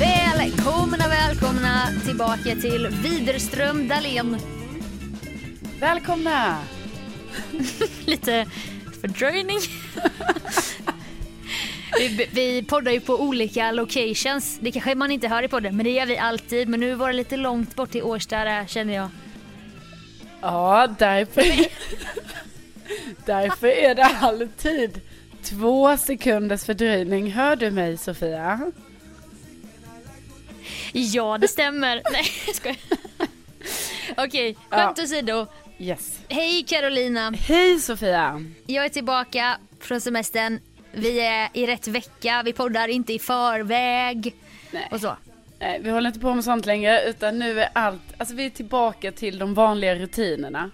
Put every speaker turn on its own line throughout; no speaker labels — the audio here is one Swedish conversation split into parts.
Välkomna, välkomna tillbaka till Widerström Dahlén.
Välkomna!
Lite fördröjning. vi, vi poddar ju på olika locations. Det kanske man inte hör i podden, men det gör vi alltid. Men nu var det lite långt bort till Årsta känner jag.
Ja, därför, därför är det alltid två sekunders fördröjning. Hör du mig Sofia?
Ja, det stämmer. Nej, jag skojar. Okej, skämt åsido.
Yes.
Hej Carolina.
Hej Sofia!
Jag är tillbaka från semestern. Vi är i rätt vecka. Vi poddar inte i förväg.
Nej.
Och så.
Nej, vi håller inte på med sånt längre utan nu är allt, alltså vi är tillbaka till de vanliga rutinerna.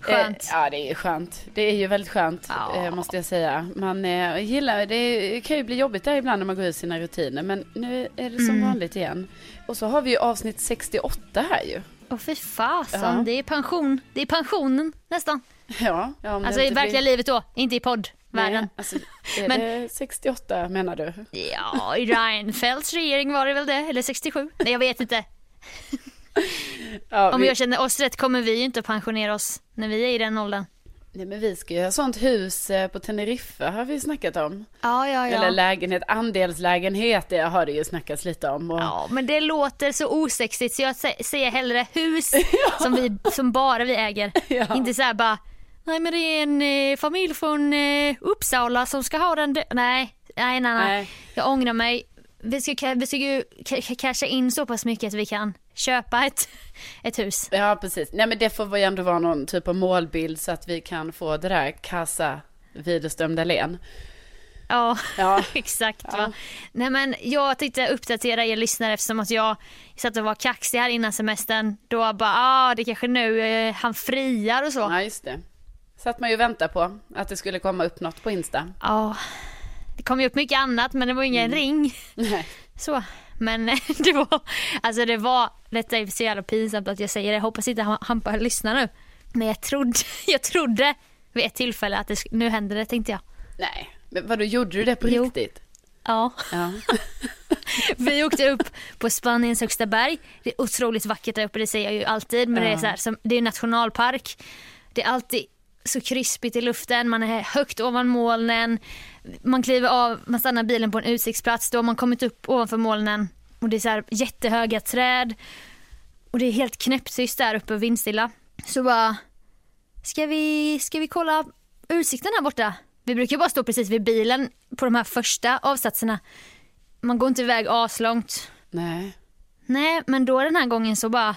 Skönt.
Eh, ja det är skönt. Det är ju väldigt skönt
Ja.
eh, måste jag säga. Man eh, gillar, det är- kan ju bli jobbigt där ibland när man går ur sina rutiner men nu är det som vanligt igen. Och så har vi ju avsnitt 68 här ju.
Åh fy fasen,
Ja.
det är pension. Det är pensionen nästan.
Ja, ja om det
Alltså i
inte blir-
verkliga livet då, inte i poddvärlden.
Nej, alltså, är
Men-
det 68 menar du?
Ja, i Reinfeldts regering var det väl det, eller 67? Nej jag vet inte.
Ja,
Om
vi,
jag känner oss rätt kommer vi ju inte att pensionera oss när vi är i den åldern.
nej, men vi ska ju ha sånt hus eh, på Teneriffa har vi ju snackat om.
Ja, ja,
Eller lägenhet, andelslägenhet det har det ju snackats lite om. Och,
Ja, men det låter så osexigt så jag sä- säger hellre hus som, vi, som bara vi äger.
Ja.
Inte så här bara, nej men det är en eh, familj från eh, Uppsala som ska ha den. dö-" Nej, nej, nej, nej.
Nej.
Jag ångrar mig. Vi ska, ka- vi ska ju ka- ka- casha in så pass mycket att vi kan köpa ett, ett hus.
Ja, precis. Nej, men det får väl ändå vara någon typ av målbild så att vi kan få det där kassa Widerström Dahlén.
Ja,
Ja.
exakt. Va? Nej, men jag tänkte uppdatera er lyssnare eftersom att jag satt och var kaxig här innan semestern. Då bara, ah, det kanske nu eh, han friar och så.
Ja, just det. Satt man ju och väntade på att det skulle komma upp något på Insta.
Ja, det kom ju upp mycket annat men det var ingen ring.
Nej.
Så. Men det var, alltså det var, detta är så jävla pinsamt att jag säger det, hoppas inte han- Hampa lyssnar nu. Men jag trodde, jag trodde vid ett tillfälle att det, sk- nu händer det tänkte jag.
Nej, men vadå, gjorde du det på
Jo.
riktigt?
Ja,
Ja.
vi åkte upp på Spaniens högsta berg. Det är otroligt vackert där uppe, det säger jag ju alltid. Men det är så här, som, det är nationalpark. Det är alltid så krispigt i luften, man är högt ovan molnen. Man kliver av, man stannar bilen på en utsiktsplats, då har man kommit upp ovanför molnen. Och det är så här jättehöga träd. Och det är helt knäpptyst där uppe och vindstilla. Så bara, ska vi, ska vi kolla utsikten här borta? Vi brukar bara stå precis vid bilen på de här första avsatserna. Man går inte iväg aslångt.
Nej.
Nej, men då den här gången så bara,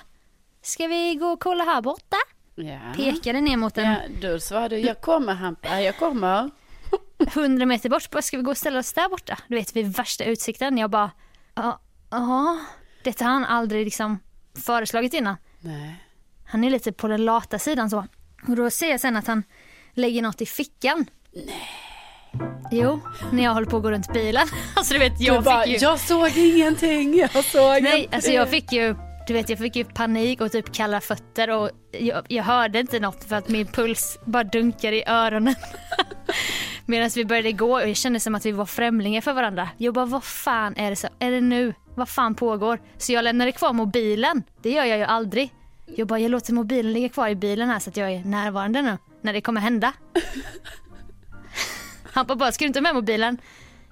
ska vi gå och kolla här borta?
Ja.
Pekade ner mot en
ja. Du svarade, jag kommer Hampa, jag kommer.
hundra meter bort, bara, ska vi gå och ställa oss där borta? Du vet, vid värsta utsikten. Jag bara, ja, ja. Detta har han aldrig liksom föreslagit innan.
Nej.
Han är lite på den lata sidan så. Och då ser jag sen att han lägger något i fickan. Nej. Jo, när jag håller på att gå runt bilen. Alltså du vet,
Jag,
jag
du bara,
fick ju...
jag såg ingenting, jag såg
Nej,
ingenting.
alltså jag fick ju, du vet jag fick ju panik och typ kalla fötter och jag, jag hörde inte något för att min puls bara dunkade i öronen. Medan vi började gå och jag kände som att vi var främlingar för varandra. Jag bara, vad fan är det så? Är det nu? Vad fan pågår? Så jag lämnade kvar mobilen. Det gör jag ju aldrig. Jag bara, jag låter mobilen ligga kvar i bilen här så att jag är närvarande nu när det kommer hända. Han bara, bara, ska du inte ha med mobilen?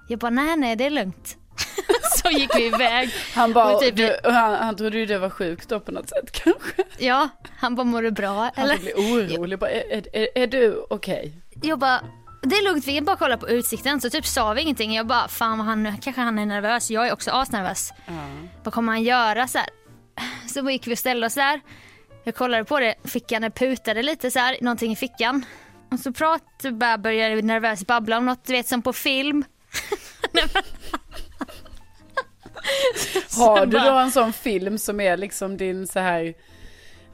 Jag bara, nej nej det är lugnt. så gick vi iväg.
Han, bara,
Och typ-
du, och han, han trodde ju det var sjukt då på något sätt kanske.
Ja, han bara mår du bra
Han
eller?
blev orolig, bara, är, är, är, är du okej?
Jag bara, det är lugnt vi kan bara kolla på utsikten. Så typ sa vi ingenting. Jag bara, fan vad han, kanske han är nervös. Jag är också asnervös. Vad kommer han göra så här? Så bara gick vi och ställde oss där. Jag kollade på det, fickan det putade lite så här, någonting i fickan. Och så pratade, bara började vi nervöst babbla om något, du vet som på film.
Har du
bara-
då en sån film som är liksom din så här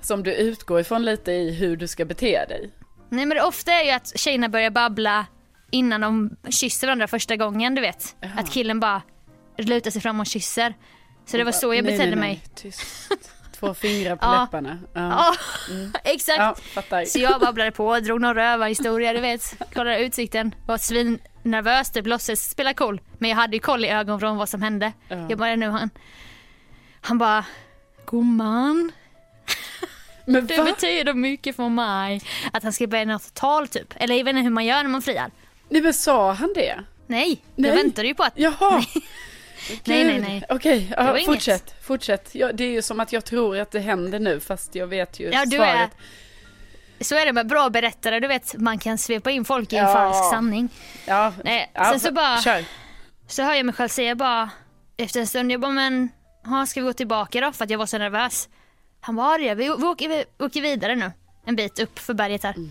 som du utgår ifrån lite i hur du ska bete dig?
Nej men det ofta är ju att tjejerna börjar babbla innan de kysser varandra första gången du vet. Att killen bara lutar sig fram och kysser. Så det var så jag
Nej,
betedde
nej, nej.
mig.
Tyst. Två fingrar på
Ja.
läpparna. Ja.
Ja, exakt.
Mm. ja, fattar.
Så jag babblade på, drog någon rövarhistoria du vet. Kollade utsikten, var svinnervös typ, låtsades spela cool. Men jag hade ju koll i ögonvrån vad som hände. Jag bara, nu han. Han bara, gumman.
Men
Det
va?
betyder mycket för mig. Att han ska börja något tal typ. Eller jag vet inte hur man gör när man friar.
Nej men sa han det?
Nej, jag
Nej.
väntade ju på att...
Jaha!
Nej, nej,
Gud.
nej.
Okej,
Det var
ja,
inget.
fortsätt. Fortsätt. Ja, det är ju som att jag tror att det händer nu fast jag vet ju
Ja, du
svaret.
är... Så är det med bra berättare, du vet. Man kan svepa in folk i en
Ja.
falsk sanning.
Ja,
Nej,
ja,
sen så bara-
Kör.
Så hör jag mig själv säga bara efter en stund, jag bara men ha, ska vi gå tillbaka då? För att jag var så nervös. Han bara, "Ja, det gör vi, vi, åker, vi åker vidare nu. En bit upp för berget här.
Mm.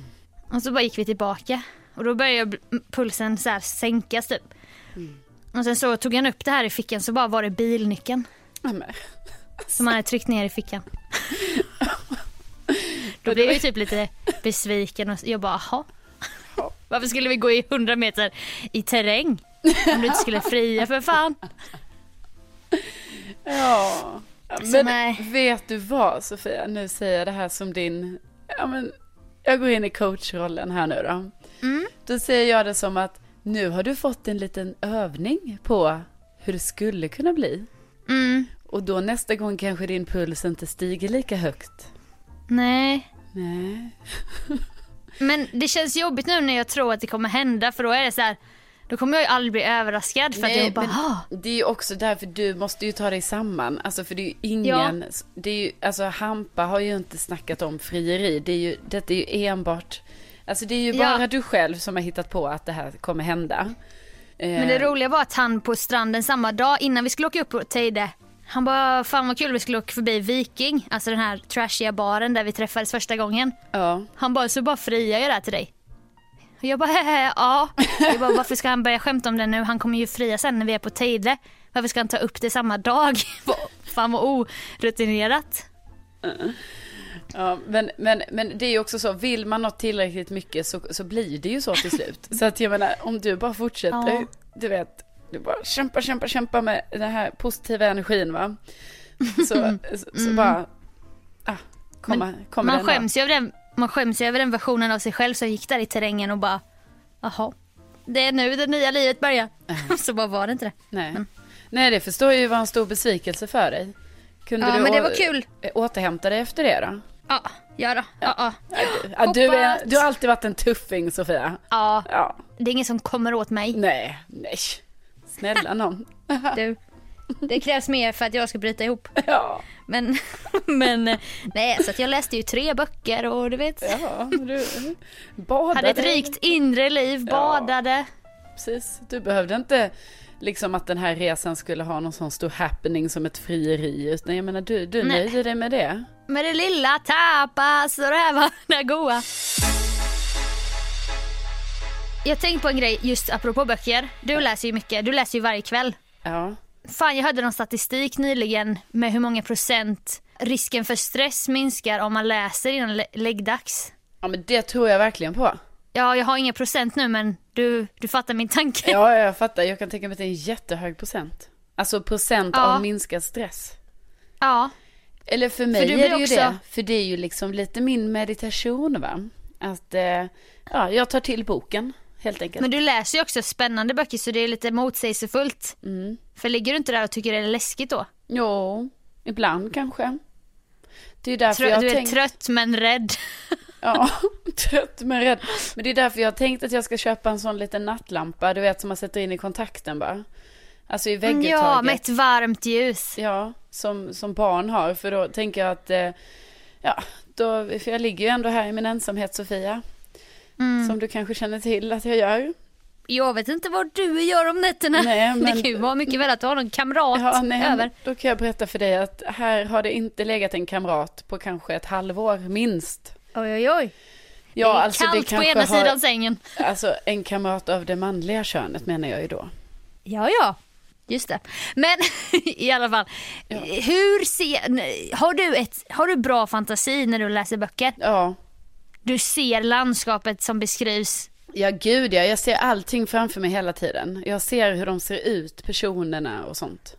Och så bara gick vi tillbaka. Och då började jag bl- pulsen så här sänkas typ.
Mm.
Och sen så tog han upp det här i fickan så bara var det bilnyckeln
Ja, men. alltså.
som han hade tryckt ner i fickan. då blev jag ju typ lite besviken och jag bara, jaha. Varför skulle vi gå i 100 meter i terräng? Om du inte skulle fria för fan.
Ja. Ja,
Så
Men
nej.
vet du vad Sofia, nu säger jag det här som din, ja men jag går in i coachrollen här nu då.
Mm.
Då säger jag det som att nu har du fått en liten övning på hur det skulle kunna bli.
Mm.
Och då nästa gång kanske din puls inte stiger lika högt.
Nej,
Nej.
men det känns jobbigt nu när jag tror att det kommer hända för då är det så här, då kommer jag ju aldrig bli överraskad för att jag bara, "Ah."
men det är ju också därför du måste ju ta dig samman. Alltså för det är ju ingen, det är ju, alltså Hampa har ju inte snackat om frieri. Det är ju, detta är ju enbart, alltså det är ju
Ja.
bara du själv som har hittat på att det här kommer hända. Eh,
Men det roliga var att han på stranden samma dag innan vi skulle åka upp på Teide han bara, fan vad kul vi skulle åka förbi Viking, alltså den här trashiga baren där vi träffades första gången.
Ja.
Han bara, så bara friar jag där till dig. Och jag bara, hehe, ja. Jag bara, varför ska han börja skämta om det nu? Han kommer ju fria sen när vi är på Teide. Varför ska han ta upp det samma dag? Fan vad orutinerat.
Ja, men, men, men det är ju också så, vill man något tillräckligt mycket så, så blir det ju så till slut. Så att jag menar, om du bara fortsätter,
Ja.
du vet, du bara kämpa, kämpa, kämpa med den här positiva energin va. Så, så, så bara, ah, komma, kommer
Mm. Man
den då.
skäms, ju över den, man skäms ju över den versionen av sig själv som gick där i terrängen och bara, jaha. Det är nu det nya livet börjar. Så bara var det inte det.
Nej. Nej, det förstår jag ju var en stor besvikelse för dig. Kunde
Ja,
du
men det
å-
var kul.
eh, återhämta dig efter det då?
Ja, ja då. Ja, ja.
Ja, du, är,
Hoppas.
du har alltid varit en tuffing Sofia.
ja,
Ja,
det är ingen som kommer åt mig.
nej, nej. Snälla någon.
Du. Det krävs mer för att jag ska bryta ihop.
Ja.
Men, men eh, nej, så att jag läste ju tre böcker och du vet.
Ja, du badade.
Hade ett rikt inre liv, badade.
Precis. Du behövde inte liksom att den här resan skulle ha någon sån stor happening som ett frieri. Utan jag menar, du, du
Nej.
nöjde dig med det.
Med det lilla tapas och det här var det goa. Jag tänkte på en grej just apropå böcker. Du läser ju mycket, du läser ju varje kväll.
Ja.
Fan jag hörde någon statistik nyligen med hur många procent risken för stress minskar om man läser innan lä- läggdags.
Ja men det tror jag verkligen på.
Ja, jag har inga procent nu men du, du fattar min tanke.
Ja, jag fattar. Jag kan tänka mig att det är en jättehög procent. Alltså procent
Ja.
av minskad stress.
Ja.
Eller för mig
du
är
blir
det ju
också-
det. För det är ju liksom lite min meditation va. Att eh, ja, jag tar till boken helt enkelt.
Men du läser ju också spännande böcker så det är lite motsägelsefullt. För ligger du inte där och tycker det är läskigt då?
Jo, ibland kanske. Det är därför
Trö-
jag
du är
tänkt...
trött men rädd.
Ja, trött men rädd. Men det är därför jag har tänkt att jag ska köpa en sån liten nattlampa, du vet som man sätter in i kontakten bara. Alltså i vägguttaget.
Ja, med ett varmt ljus.
Ja, som, som barn har. För då tänker jag att, eh, ja, då, för jag ligger ju ändå här i min ensamhet Sofia.
Mm.
Som du kanske känner till att jag gör.
Jag vet inte vad du gör om nätterna.
Nej, men-
Det kan ju vara mycket väl att du har någon kamrat
Ja, nej,
över.
Då kan jag berätta för dig att här har det inte legat en kamrat på kanske ett halvår minst.
Oj, oj, oj.
Ja,
det är
alltså,
kallt på
kanske
ena
har-
sidan sängen.
Alltså en kamrat av det manliga könet menar jag ju då.
Ja, ja. Just det. Men i alla fall. Hur ser... nej, Har du, ett, har du bra fantasi när du läser böcker?
Ja,
Du ser landskapet som beskrivs.
ja gud ja, jag ser allting framför mig hela tiden. Jag ser hur de ser ut, personerna och sånt.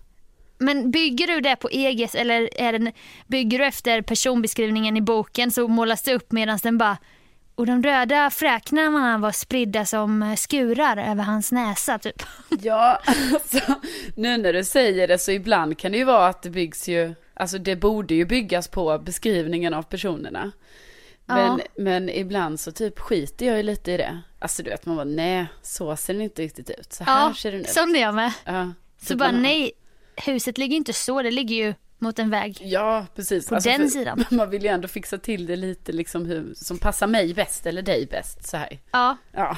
Men bygger du det på eget eller är den, bygger du efter personbeskrivningen i boken så målas det upp medan den bara och de röda fräknarna var spridda som eh, skurar över hans näsa typ.
Ja, alltså, nu när du säger det så ibland kan det ju vara att det byggs ju, alltså det borde ju byggas på beskrivningen av personerna. Men, men ibland så typ skiter jag ju lite i det. Alltså du vet man bara nej, så ser den inte riktigt ut. Så här
Ja,
ser den ut.
som det jag med.
Ja,
Så
typ
bara
man-
nej, huset ligger ju inte så, det ligger ju mot en väg.
Ja, precis. Alltså,
På den sidan.
Man vill ju ändå fixa till det lite liksom hur, som passar mig bäst eller dig bäst så här.
Ja,
Ja.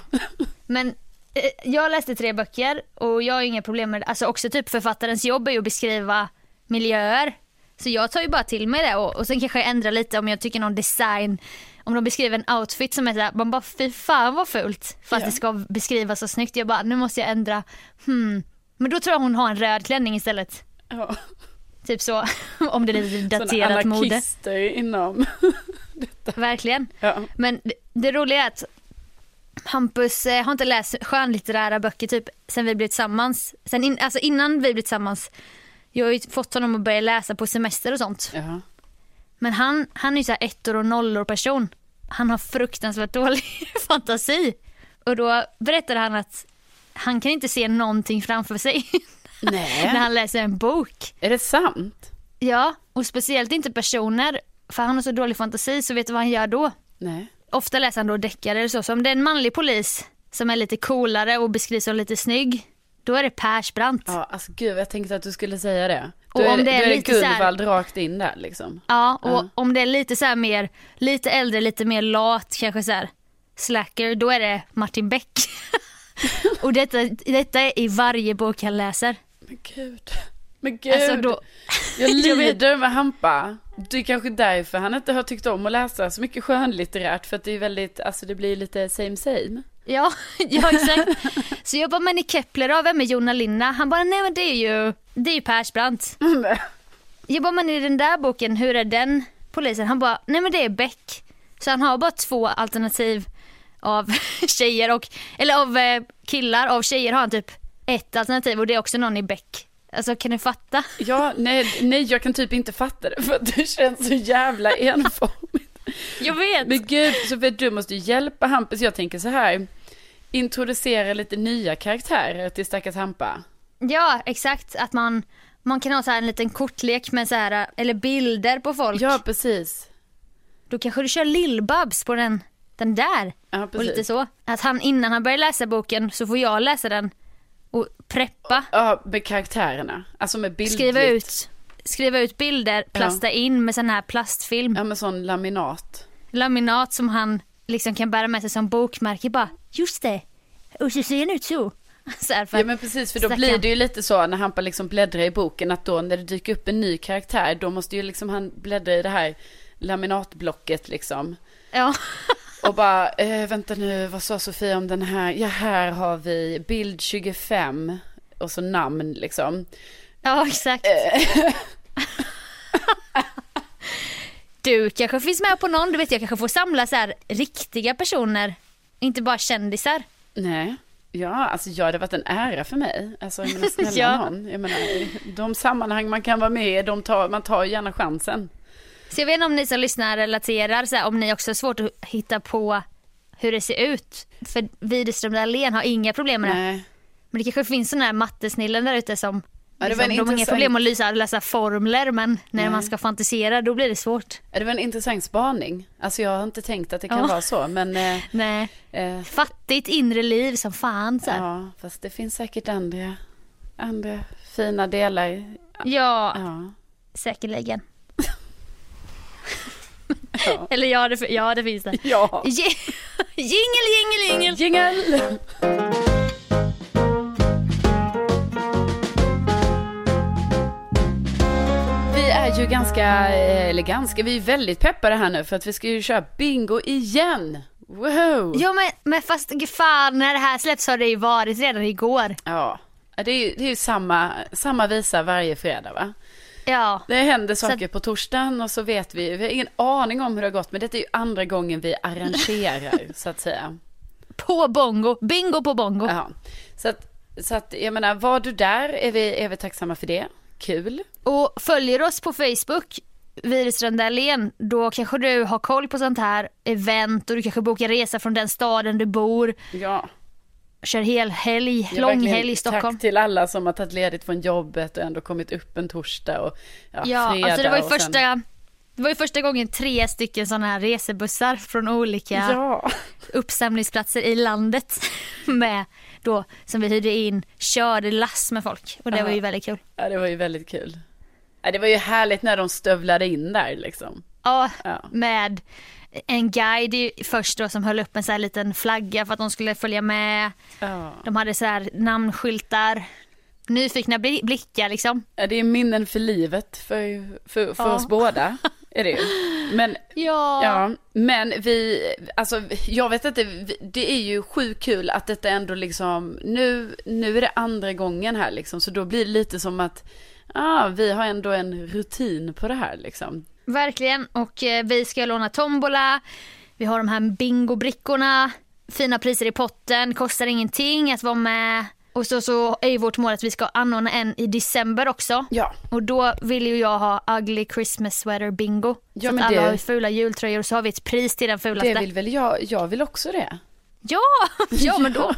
men eh, jag läste tre böcker och jag har ju inga problem med det. Alltså också typ författarens jobb är ju att beskriva miljöer. Så jag tar ju bara till mig det och, och sen kanske jag ändrar lite om jag tycker någon design, om de beskriver en outfit som är såhär, man bara fy fan vad fult för att det ska beskrivas så snyggt. Jag bara nu måste jag ändra, hmm. Men då tror jag hon har en röd klänning istället.
ja.
Typ så, om det är lite
Sådana
daterat mode.
anarkister inom.
Verkligen.
Ja.
Men det, det roliga är att Hampus eh, har inte läst skönlitterära böcker typ sen vi blev tillsammans. Sen in, alltså innan vi blev tillsammans. Jag har ju fått honom att börja läsa på semester och sånt.
Ja.
Men han, han är ju såhär ettor och nollor person. Han har fruktansvärt dålig fantasi. Och då berättade han att han kan inte se någonting framför sig när
Nej,
han läser en bok.
är det sant?
Ja, och speciellt inte personer. För han har så dålig fantasi så vet du vad han gör då?
Nej.
ofta läser han då deckare eller så. Så om det är en manlig polis som är lite coolare och beskrivs som lite snygg, då är det Persbrandt. Ja.
Ja, alltså gud, jag tänkte att du skulle säga det.
Och
Då är,
om det är
då är det
lite så här-
Gunvald rakt in där liksom.
och om det är lite så här mer, lite äldre, lite mer lat, kanske så här slacker, då är det Martin Beck. och detta, detta är i varje bok han läser.
Men gud. Men gud.
Alltså då,
Jag
Jag vet.
lider med Hampa. Det är kanske därför han inte har tyckt om att läsa så mycket skönlitterärt. För att det är väldigt, alltså det blir lite same same.
ja, ja exakt. Så jag bara, men i Kepler då, vem är Jonna Linna? Han bara, nej men det är ju, det är ju Persbrandt. Jag bara, men i den där boken, hur är den polisen? Han bara, nej men det är Beck. Så han har bara två alternativ av tjejer och, eller av eh, killar, av tjejer har han typ ett alternativ och det är också någon i Beck. Alltså kan du fatta?
Ja, nej, nej jag kan typ inte fatta det för att det känns så jävla enformigt.
Jag vet!
Men gud, så för du måste ju hjälpa Hampus. Jag tänker så här, introducera lite nya karaktärer till stackars Hampa.
Ja, exakt. Att man, man kan ha så här en liten kortlek med så här, eh, eller bilder på folk.
Ja, precis.
Då kanske du kör Lill-Babs på den, den där.
Ja,
och
precis.
lite så. Att han, innan han börjar läsa boken så får jag läsa den och preppa.
Ja, med karaktärerna. Alltså med bildligt.
skriva ut, skriva ut bilder, plasta in med sån här plastfilm.
Ja, med sån laminat.
Laminat som han liksom kan bära med sig som bokmärke. Bara, just det, och så ser den ut så. så här för
Ja men precis för då
Stackarn.
blir det ju lite så när Hampa liksom bläddrar i boken att då när det dyker upp en ny karaktär då måste ju liksom han bläddra i det här laminatblocket liksom.
ja.
Och bara, eh, vänta nu, vad sa Sofia om den här? Ja här har vi bild 25 och så namn liksom.
ja, exakt. du kanske finns med på någon, du vet jag kanske får samla så här riktiga personer, inte bara kändisar.
Nej. Ja, alltså ja, det har varit en ära för mig. Alltså, jag menar, snälla
Ja.
någon. Jag menar, de sammanhang man kan vara med i, de tar, man tar ju gärna chansen.
Så jag vet inte om ni som lyssnar relaterar, så här, om ni också har svårt att hitta på hur det ser ut. För Widerström Dahlén har inga problem med det.
Nej.
Men det kanske finns sådana här mattesnillen där ute som
Ja, det var
liksom,
en
de har inga
intressant-
problem att läsa, läsa formler men när man ska fantisera då blir det svårt.
Ja, Det var en intressant spaning. Alltså jag har inte tänkt att det kan
Ja.
vara så, men... Eh,
Nej.
eh,
Fattigt inre liv som fan. Så här. Ja.
ja, fast det finns säkert andra, andra fina delar. Ja.
säkerligen.
Ja.
Eller ja det, ja, det finns det.
Ja.
Ji- Jingel, jingel, jingel.
Jingel! Vi är ju ganska, eh, eller ganska, vi är väldigt peppade här nu för att vi ska ju köra bingo igen. Wow!
Jo men, men fast gud fan när det här släpps har det ju varit redan igår.
Ja, det är ju, det är ju samma, samma visa varje fredag va?
Ja.
Det händer
att-
saker på torsdagen och så vet vi, vi har ingen aning om hur det har gått men detta är ju andra gången vi arrangerar så att säga.
På bongo. Bingo på bongo.
Ja. Så, att, så att jag menar, var du där är vi, är vi tacksamma för det. Kul.
Och följer oss på Facebook, Widerström Dahlén, då kanske du har koll på sånt här event och du kanske bokar resa från den staden du bor,
Ja.
kör hel helg,
Ja,
lång
verkligen.
helg i Stockholm.
Tack till alla som har tagit ledigt från jobbet och ändå kommit upp en torsdag och ja,
Ja,
fredag.
alltså det var ju
och sen-
första, det var ju första gången tre stycken sådana här resebussar från olika
Ja.
uppsamlingsplatser i landet med då som vi hyrde in körde lass med folk och det var ju väldigt kul.
ja, det var ju väldigt kul. Ja, det var ju härligt när de stövlade in där liksom.
Ja,
Ja.
med en guide i- först då som höll upp en så här liten flagga för att de skulle följa med.
Ja.
De hade så här namnskyltar, nyfikna bli- blickar liksom.
Ja, det är minnen för livet för, för, för oss båda. Är det ju. Men,
Ja.
ja, men vi, alltså jag vet inte, vi- det är ju sjukt kul att detta ändå liksom, nu, nu är det andra gången här liksom, så då blir det lite som att, ja, vi har ändå en rutin på det här liksom.
Verkligen, och eh, vi ska låna tombola, vi har de här bingobrickorna, fina priser i potten, kostar ingenting att vara med. Och så, så är ju vårt mål att vi ska anordna en i december också.
Ja.
Och då vill ju jag ha ugly Christmas sweater bingo.
Ja,
så
men
att alla
det-
har ju fula jultröjor och så har vi ett pris till den fulaste.
Det vill väl jag, jag vill också det.
Ja, ja men då,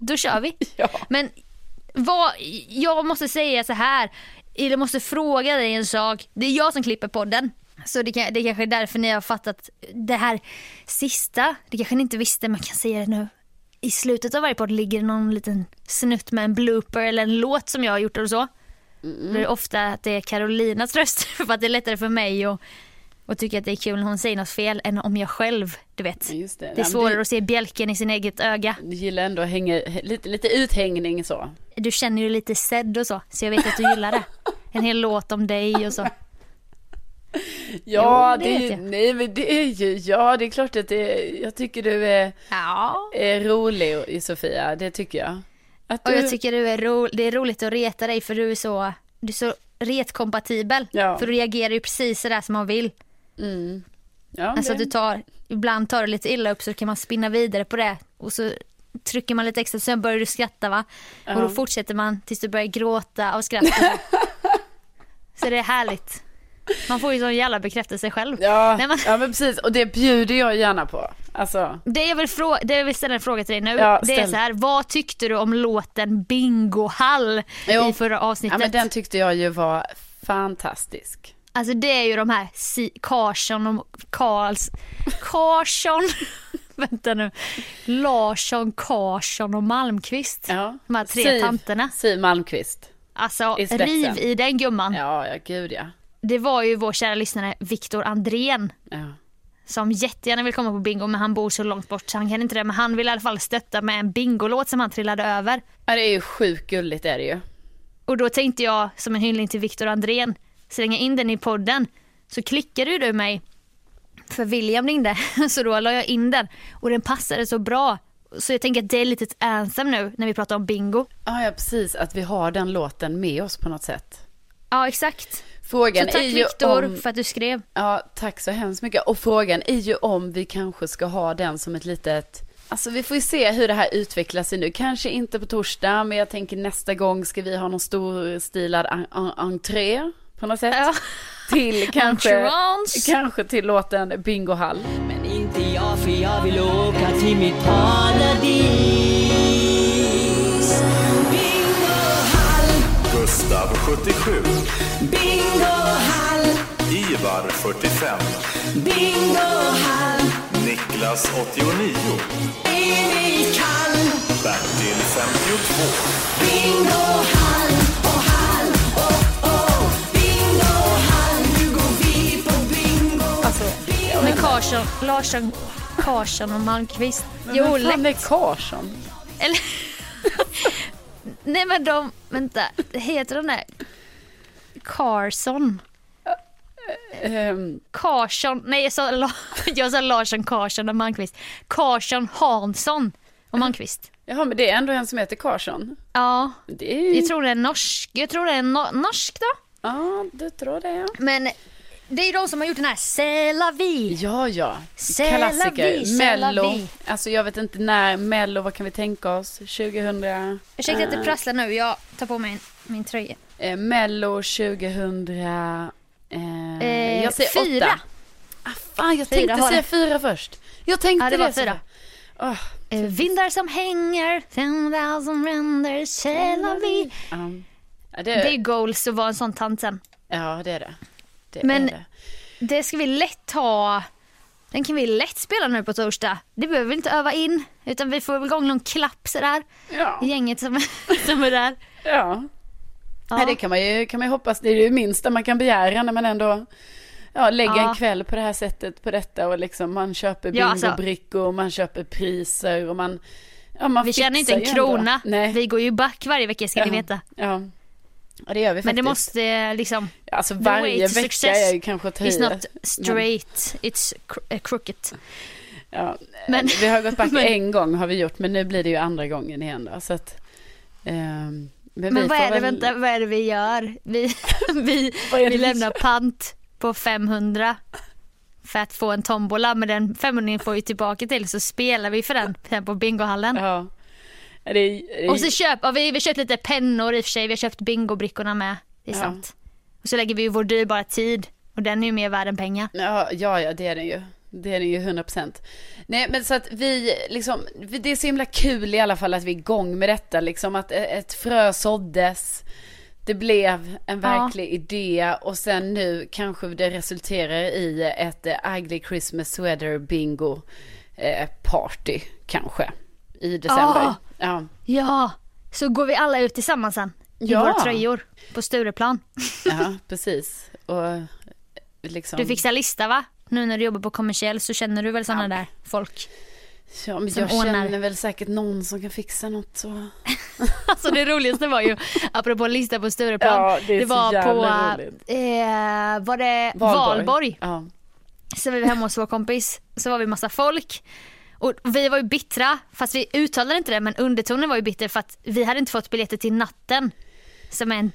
då kör vi.
Ja.
Men vad, jag måste säga så här, eller måste fråga dig en sak. Det är jag som klipper podden. Så det, kan, det kanske är därför ni har fattat det här sista. Det kanske ni inte visste, men jag kan säga det nu. I slutet av varje podd ligger det någon liten snutt med en blooper eller en låt som jag har gjort eller så.
Mm.
Då är det ofta att det är Carolinas röst för att det är lättare för mig att och tycka att det är kul när hon säger något fel än om jag själv, du vet.
Ja, just det. Nej,
det är
men
svårare
det-
att se bjälken i sin eget öga.
Jag gillar ändå att hänga, lite, lite uthängning så.
Du känner ju lite sedd och så, så jag vet att du gillar det. En hel låt om dig och så.
Ja,
Jo, det
det, är ju,
vet jag.
nej men det är ju, ja det är klart att det, jag tycker du är,
Ja.
är rolig i Sofia, det tycker jag. Att
Och jag tycker du är ro- det är roligt att reta dig för du är så, du är så retkompatibel.
Ja.
För du reagerar ju precis sådär som man vill.
ja,
Alltså att
det,
du tar, ibland tar du lite illa upp så kan man spinna vidare på det. Och så trycker man lite extra, sen börjar du skratta va. Och då fortsätter man tills du börjar gråta av skratt. så det är härligt. Man får ju sån jävla bekräftelse själv.
ja,
Nej, men-
ja men precis, och det bjuder jag gärna på. Alltså,
Det jag, vill frå- det jag vill ställa en fråga till dig nu,
Ja,
det är
ställ.
så här, vad tyckte du om låten Bingohall
Jo.
i förra
ja
avsnittet?
men den tyckte jag ju var fantastisk.
Alltså det är ju de här si- Karlsson och Karls... Karlsson... Vänta nu. Larsson, Karlsson och Malmqvist.
Ja.
De här tre
Siv-
tanterna.
Siv Malmqvist.
Alltså
I spetsen.
riv i den gumman.
Ja, ja gud ja.
Det var ju vår kära lyssnare Viktor Andrén
ja.
som jättegärna vill komma på bingo men han bor så långt bort så han kan inte det. Men han vill i alla fall stötta med en bingolåt som han trillade över.
Ja, det är ju sjukt gulligt är det ju.
Och då tänkte jag som en hyllning till Viktor Andrén slänga in den i podden. Så klickade ju du mig. För William ringde så då la jag in den och den passade så bra. Så jag tänker att det är lite ett anthem nu när vi pratar om bingo.
Ja, ja precis, att vi har den låten med oss på något sätt.
Ja exakt.
Frågan
Så tack
är ju
Viktor
om...
för att du skrev.
Ja, tack så hemskt mycket. Och frågan är ju om vi kanske ska ha den som ett litet... Alltså vi får ju se hur det här utvecklar sig nu. Kanske inte på torsdag, men jag tänker nästa gång ska vi ha någon storstilad en- en- entré på något sätt.
Ja.
Till kanske,
Entrance.
kanske till låten Bingo Hall.
Men inte jag för jag vill åka till mitt paradis Bingo Hall,
Gustav 77,
Bingo Hall,
Ivar 45,
Bingo Hall
Niklas 89,
Emil Kall,
Bertil 52.
Bingo Hall och Hall, oh oh Bingo Hall, nu går vi på bingo
Med Karlsson, Larsson, Karlsson och Malmqvist.
Men
Jo,
vem fan
lätt.
är Karlsson?
Eller... Nej men de, vänta, heter de där Carson? Eh,
Ehm,
Carson, nej jag sa, La- jag sa Larsson Carson och Malmqvist. Carson Hansson och Malmqvist.
jaha, men det är ändå en som heter Karlsson.
Ja,
Det är ju...
jag tror det är norsk, jag tror det är no- norsk då.
Ja, du tror det. ja.
Men det är ju de som har gjort den här C'est la vie.
Ja, ja.
C'est la vie,
Klassiker.
c'est la
Mello.
vie.
Alltså jag vet inte när. Mello, vad kan vi tänka oss? 2000...
Ursäkta att det prasslar nu, jag tar på mig min tröja.
Eh, Mello 2000... Eh,
Eh,
jag säger
fyra.
åtta. Ah, fan, jag
Fyra
tänkte
har
säga
det.
fyra först. Jag tänkte
Ja, det var
Sofia.
fyra.
Åh,
Eh, Vindar som hänger, 10,000 ränder, C'est la vie.
um, ja, det,
Det är goals att vara en sån tant sen.
ja, det är det. det
Men-
är det.
Det ska vi lätt ha. Den kan vi lätt spela nu på torsdag. Det behöver vi inte öva in. Utan vi får väl igång någon klapp sådär.
Ja, ja.
Gänget som, som är där. Ja.
Nej, det kan man, ju, kan man ju hoppas. Det är ju det minsta man kan begära när man ändå ja, lägger
Ja.
en kväll på det här sättet på detta och liksom man köper
Ja, alltså.
bingobrickor och man köper priser och man... Ja, man
Vi tjänar inte
fixar
en
ju ändå.
krona.
Nej.
Vi går ju back varje vecka ska ni
Ja.
veta.
Ja. ja, det gör vi faktiskt.
Men det måste eh, liksom...
Alltså
The
varje
way to
vecka
success
är ju kanske att
It's
höja.
not straight, it's cr- eh, crooked.
Ja,
Men-
vi har gått back
men-
en gång har vi gjort, men nu blir det ju andra gången igen då. Så att, ehm, men vi
Men vad
får
är det,
väl-
vänta, vad är det vi gör? Vi, vi,
Vad är det
vi
vi
lämnar
gör?
pant på 500 för att få en tombola. Men den 500 får vi tillbaka till så spelar vi för den sen på bingohallen.
Ja. Det, det,
Och så köp, ja, vi, vi har köpt lite pennor i och för sig. Vi har köpt bingobrickorna med. Det är
Ja.
sant. Och så lägger vi ju vår dyrbara tid. Och den är ju mer värd än pengar.
Ja, ja, ja, det är den ju. Det är den ju 100 procent. Nej, men så att vi liksom, vi- det är så himla kul i alla fall att vi är igång med detta, liksom att e- ett frö såddes. Det blev en verklig idé och sen nu kanske det resulterar i ett eh, ugly Christmas sweater bingo eh, party kanske i december.
Ah.
Ja.
Ja, så går vi alla ut tillsammans sen. I
Ja.
våra tröjor. På Stureplan.
ja, precis. Och liksom,
Du fixar lista va? Nu när du jobbar på kommersiell så känner du väl sådana där folk?
ja, men
som
jag
ordnar.
känner väl säkert någon som kan fixa något så.
Alltså det roligaste var ju, apropå lista på Stureplan.
Ja, det är så
var
jävla
på,
roligt.
eh, var det Valborg?
Ja.
Så var vi hemma hos vår kompis, så var vi massa folk. Och vi var ju bittra, fast vi uttalade inte det men undertonen var ju bitter för att vi hade inte fått biljetter till Natten. Som är en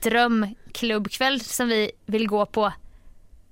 drömklubbkväll som vi vill gå på.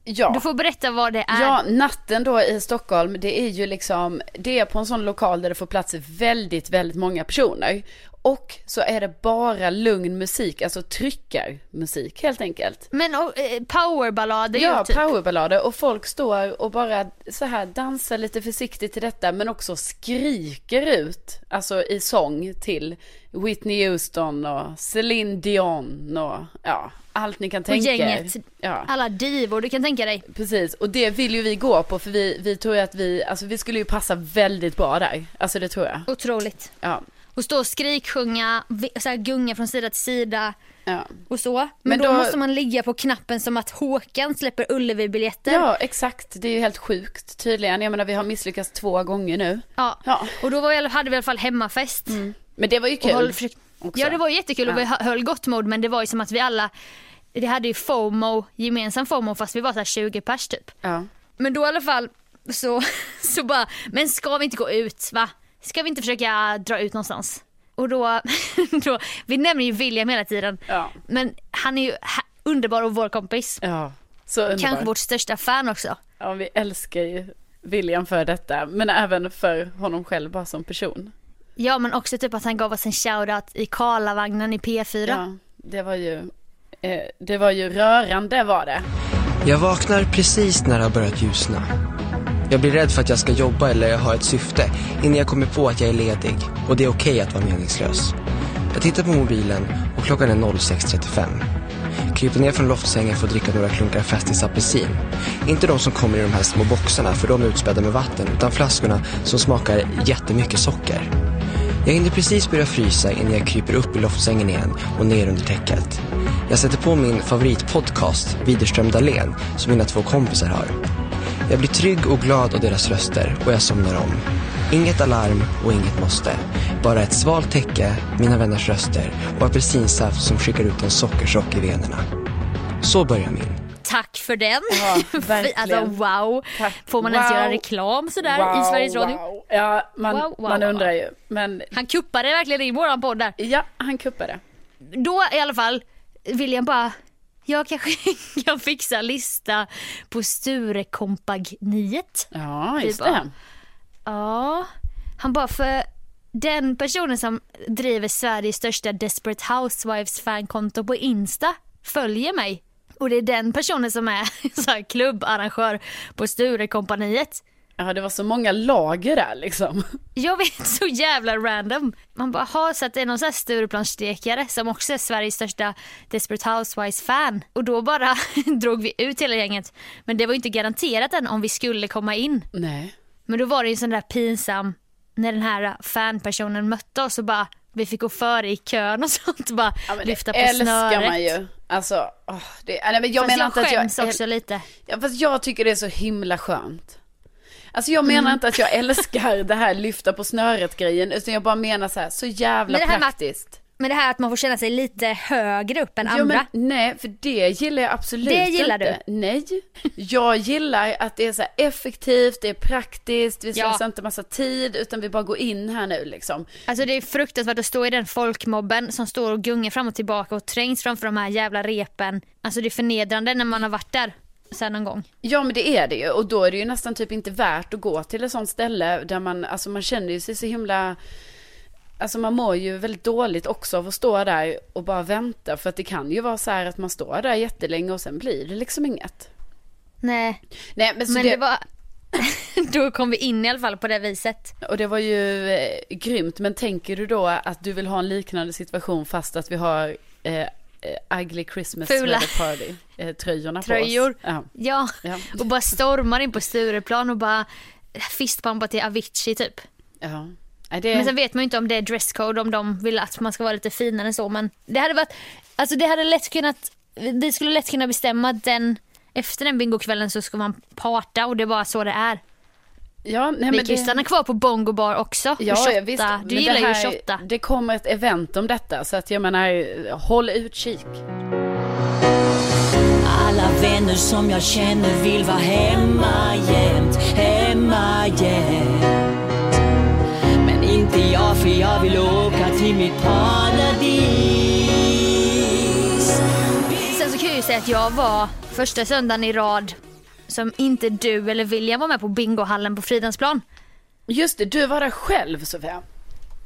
Ja.
Du får berätta vad det är.
Ja, natten då i Stockholm, det är ju liksom, det är på en sån lokal där det får plats väldigt, väldigt många personer. Och så är det bara lugn musik, alltså tryckarmusik helt enkelt.
Men och, eh, powerballader ju
Ja,
typ.
powerballader och folk står och bara så här dansar lite försiktigt till detta men också skriker ut, alltså i sång till Whitney Houston och Celine Dion och ja, allt ni kan tänka er.
gänget.
Ja.
Alla divor du kan tänka dig.
Precis, och det vill ju vi gå på för vi, vi tror ju att vi, alltså vi skulle ju passa väldigt bra där. Alltså det tror jag.
Otroligt.
Ja.
Och stå och skriksjunga, vi- så här gunga från sida till sida.
Ja,
och så. Men,
Men
då,
då-
måste man ligga på knappen som att Håkan släpper Ullevi-biljetter.
ja exakt. Det är ju helt sjukt tydligen. Jag menar vi har misslyckats två gånger nu.
Ja.
Ja.
Och då var vi, hade vi i alla fall hemmafest.
Men det var ju
Och höll-
kul.
försökt-
också.
Ja det var ju jättekul och
Ja.
vi hö- höll gott mod men det var ju som att vi alla, det hade ju FOMO, gemensam FOMO fast vi var så här 20 pers typ.
Ja.
Men då i alla fall så, så bara, men ska vi inte gå ut va? Ska vi inte försöka dra ut någonstans? Och då, då vi nämner ju William hela tiden.
Ja.
Men han är ju ha- underbar och vår kompis.
Ja, så
Kanske
underbart.
vårt största fan också.
Ja, vi älskar ju William för detta, men även för honom själv bara som person.
Ja men också typ att han gav oss en shoutout i Karlavagnen i P4.
Ja, det var ju, eh, det var ju rörande var det.
Jag vaknar precis när det har börjat ljusna. Jag blir rädd för att jag ska jobba eller ha ett syfte innan jag kommer på att jag är ledig och det är okej att vara meningslös. Jag tittar på mobilen och klockan är 06.35. Kryper ner från loftsängen för att dricka några klunkar Festis apelsin. Inte de som kommer i de här små boxarna för de är utspädda med vatten utan flaskorna som smakar jättemycket socker. Jag hinner precis börja frysa innan jag kryper upp i loftsängen igen och ner under täcket. Jag sätter på min favoritpodcast, Widerström Dahlén, som mina två kompisar har. Jag blir trygg och glad av deras röster och jag somnar om. Inget alarm och inget måste. Bara ett svalt täcke, mina vänners röster och apelsinsaft som skickar ut en sockerchock i venerna. Så börjar min.
Tack för den.
Ja,
Fy, alltså
verkligen.
wow.
Tack.
Får man ens
Wow.
göra reklam sådär i Sveriges Radio?
wow. Ja, man,
Wow, wow,
man
wow,
undrar
wow.
ju. Men
Han kuppade verkligen in våran podd där.
ja, han kuppade.
Då i alla fall, William bara, jag kanske kan fixa lista på Sturekompagniet.
Ja, just
Vi bara-
det.
Ja, han bara för den personen som driver Sveriges största Desperate Housewives fankonto på Insta följer mig. Och det är den personen som är så här klubbarrangör på Sturekompaniet.
Ja, det var så många lager där liksom.
Jag vet, så jävla random. Man bara, har så att det är någon sån här Stureplansstrekare som också är Sveriges största Desperate Housewives-fan. Och då bara drog vi ut hela gänget. Men det var ju inte garanterat än om vi skulle komma in.
Nej.
Men då var det ju sån där pinsam, när den här fanpersonen mötte oss och bara, vi fick gå före i kön och sånt och bara
Ja, men
lyfta
det
på
älskar
snöret.
man ju. Alltså, åh, det, ja, nej, men jag
Jag, Fast
menar
jag
inte att
skäms
jag...
också lite.
Ja, fast jag tycker det är så himla skönt. Alltså jag
Mm.
menar inte att jag älskar det här lyfta på snöret grejen, utan jag bara menar så här, så jävla
Men det här med att-
praktiskt.
Men det här att man får känna sig lite högre upp än
Jo,
andra.
men, nej, för det gillar jag absolut
Det gillar
inte.
du?
Nej, jag gillar att det är så här effektivt, det är praktiskt, vi
Ja.
slösar inte massa tid, utan vi bara går in här nu liksom.
Alltså det är fruktansvärt att stå i den folkmobben som står och gungar fram och tillbaka och trängs framför de här jävla repen. Alltså det är förnedrande när man har varit där sen någon gång.
Ja men det är det ju och då är det ju nästan typ inte värt att gå till ett sånt ställe där man, alltså man känner ju sig så himla Alltså man mår ju väldigt dåligt också av att stå där och bara vänta för att det kan ju vara så här att man står där jättelänge och sen blir det liksom inget.
Nej,
Nej men så
men
det,
det var... då kom vi in i alla fall på det viset.
och det var ju eh, grymt men tänker du då att du vill ha en liknande situation fast att vi har eh, eh, ugly Christmas
Fula.
sweater party eh, tröjorna
Tröjor.
på oss. Ja.
Ja,
Ja.
och bara stormar in på Stureplan och bara fistpumpar till Avicii typ.
ja. Nej, det...
Men sen vet man ju inte om det är dresscode, om de vill att man ska vara lite finare än så. Men det hade varit, alltså det hade lätt kunnat, vi skulle lätt kunna bestämma att den, efter den bingokvällen så ska man parta och det är bara så det är.
ja, nej,
vi
men
kan ju
det-
stanna kvar på bongo bar också. och
Ja,
shotta.
ja visst. Men
Du
det
gillar ju att
här-
shotta.
Det kommer ett event om detta så att jag menar, håll utkik.
Alla vänner som jag känner vill vara hemma jämt, hemma jämt. Men inte jag för jag vill åka till mitt paradis.
Sen så kan jag ju säga att jag var första söndagen i rad som inte du eller William var med på bingohallen på Fridhemsplan.
Just det, du var där själv Sofia.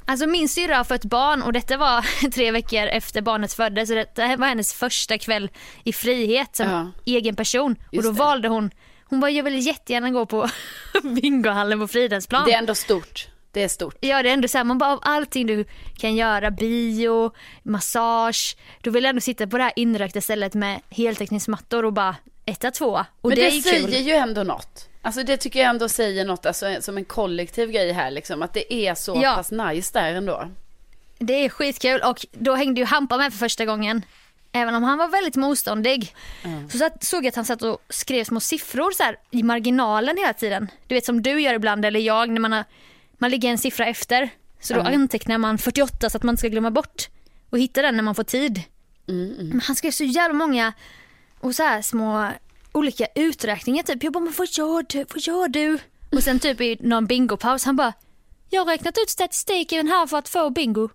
Alltså min syrra har fött barn och detta var tre veckor efter barnet föddes. Så det här var hennes första kväll i frihet som
Ja.
egen person. och
Just
då
det.
valde hon, hon bara jag vill jättegärna gå på bingohallen på Fridhemsplan.
Det är ändå stort. Det är stort.
Ja det är ändå så här, man bara av allting du kan göra, bio, massage. Då vill jag ändå sitta på det här inrökta stället med heltäckningsmattor och bara etta, tvåa. Och
Men det,
det, är ju
säger
kul.
ju ändå något. Alltså det tycker jag ändå säger något, alltså som en kollektiv grej här liksom, att det är så
Ja.
pass nice där ändå.
Det är skitkul och då hängde ju Hampa med för första gången. Även om han var väldigt motståndig. Så satt, såg jag att han satt och skrev små siffror så här, i marginalen hela tiden. Du vet som du gör ibland eller jag när man, har, man ligger en siffra efter. Så då antecknar man 48 så att man inte ska glömma bort och hitta den när man får tid. Men han skrev så jävla många och så här små olika uträkningar typ. Jag bara, men vad gör du? Vad gör du? Och sen typ i någon bingopaus han bara, jag har räknat ut statistiken här för att få bingo.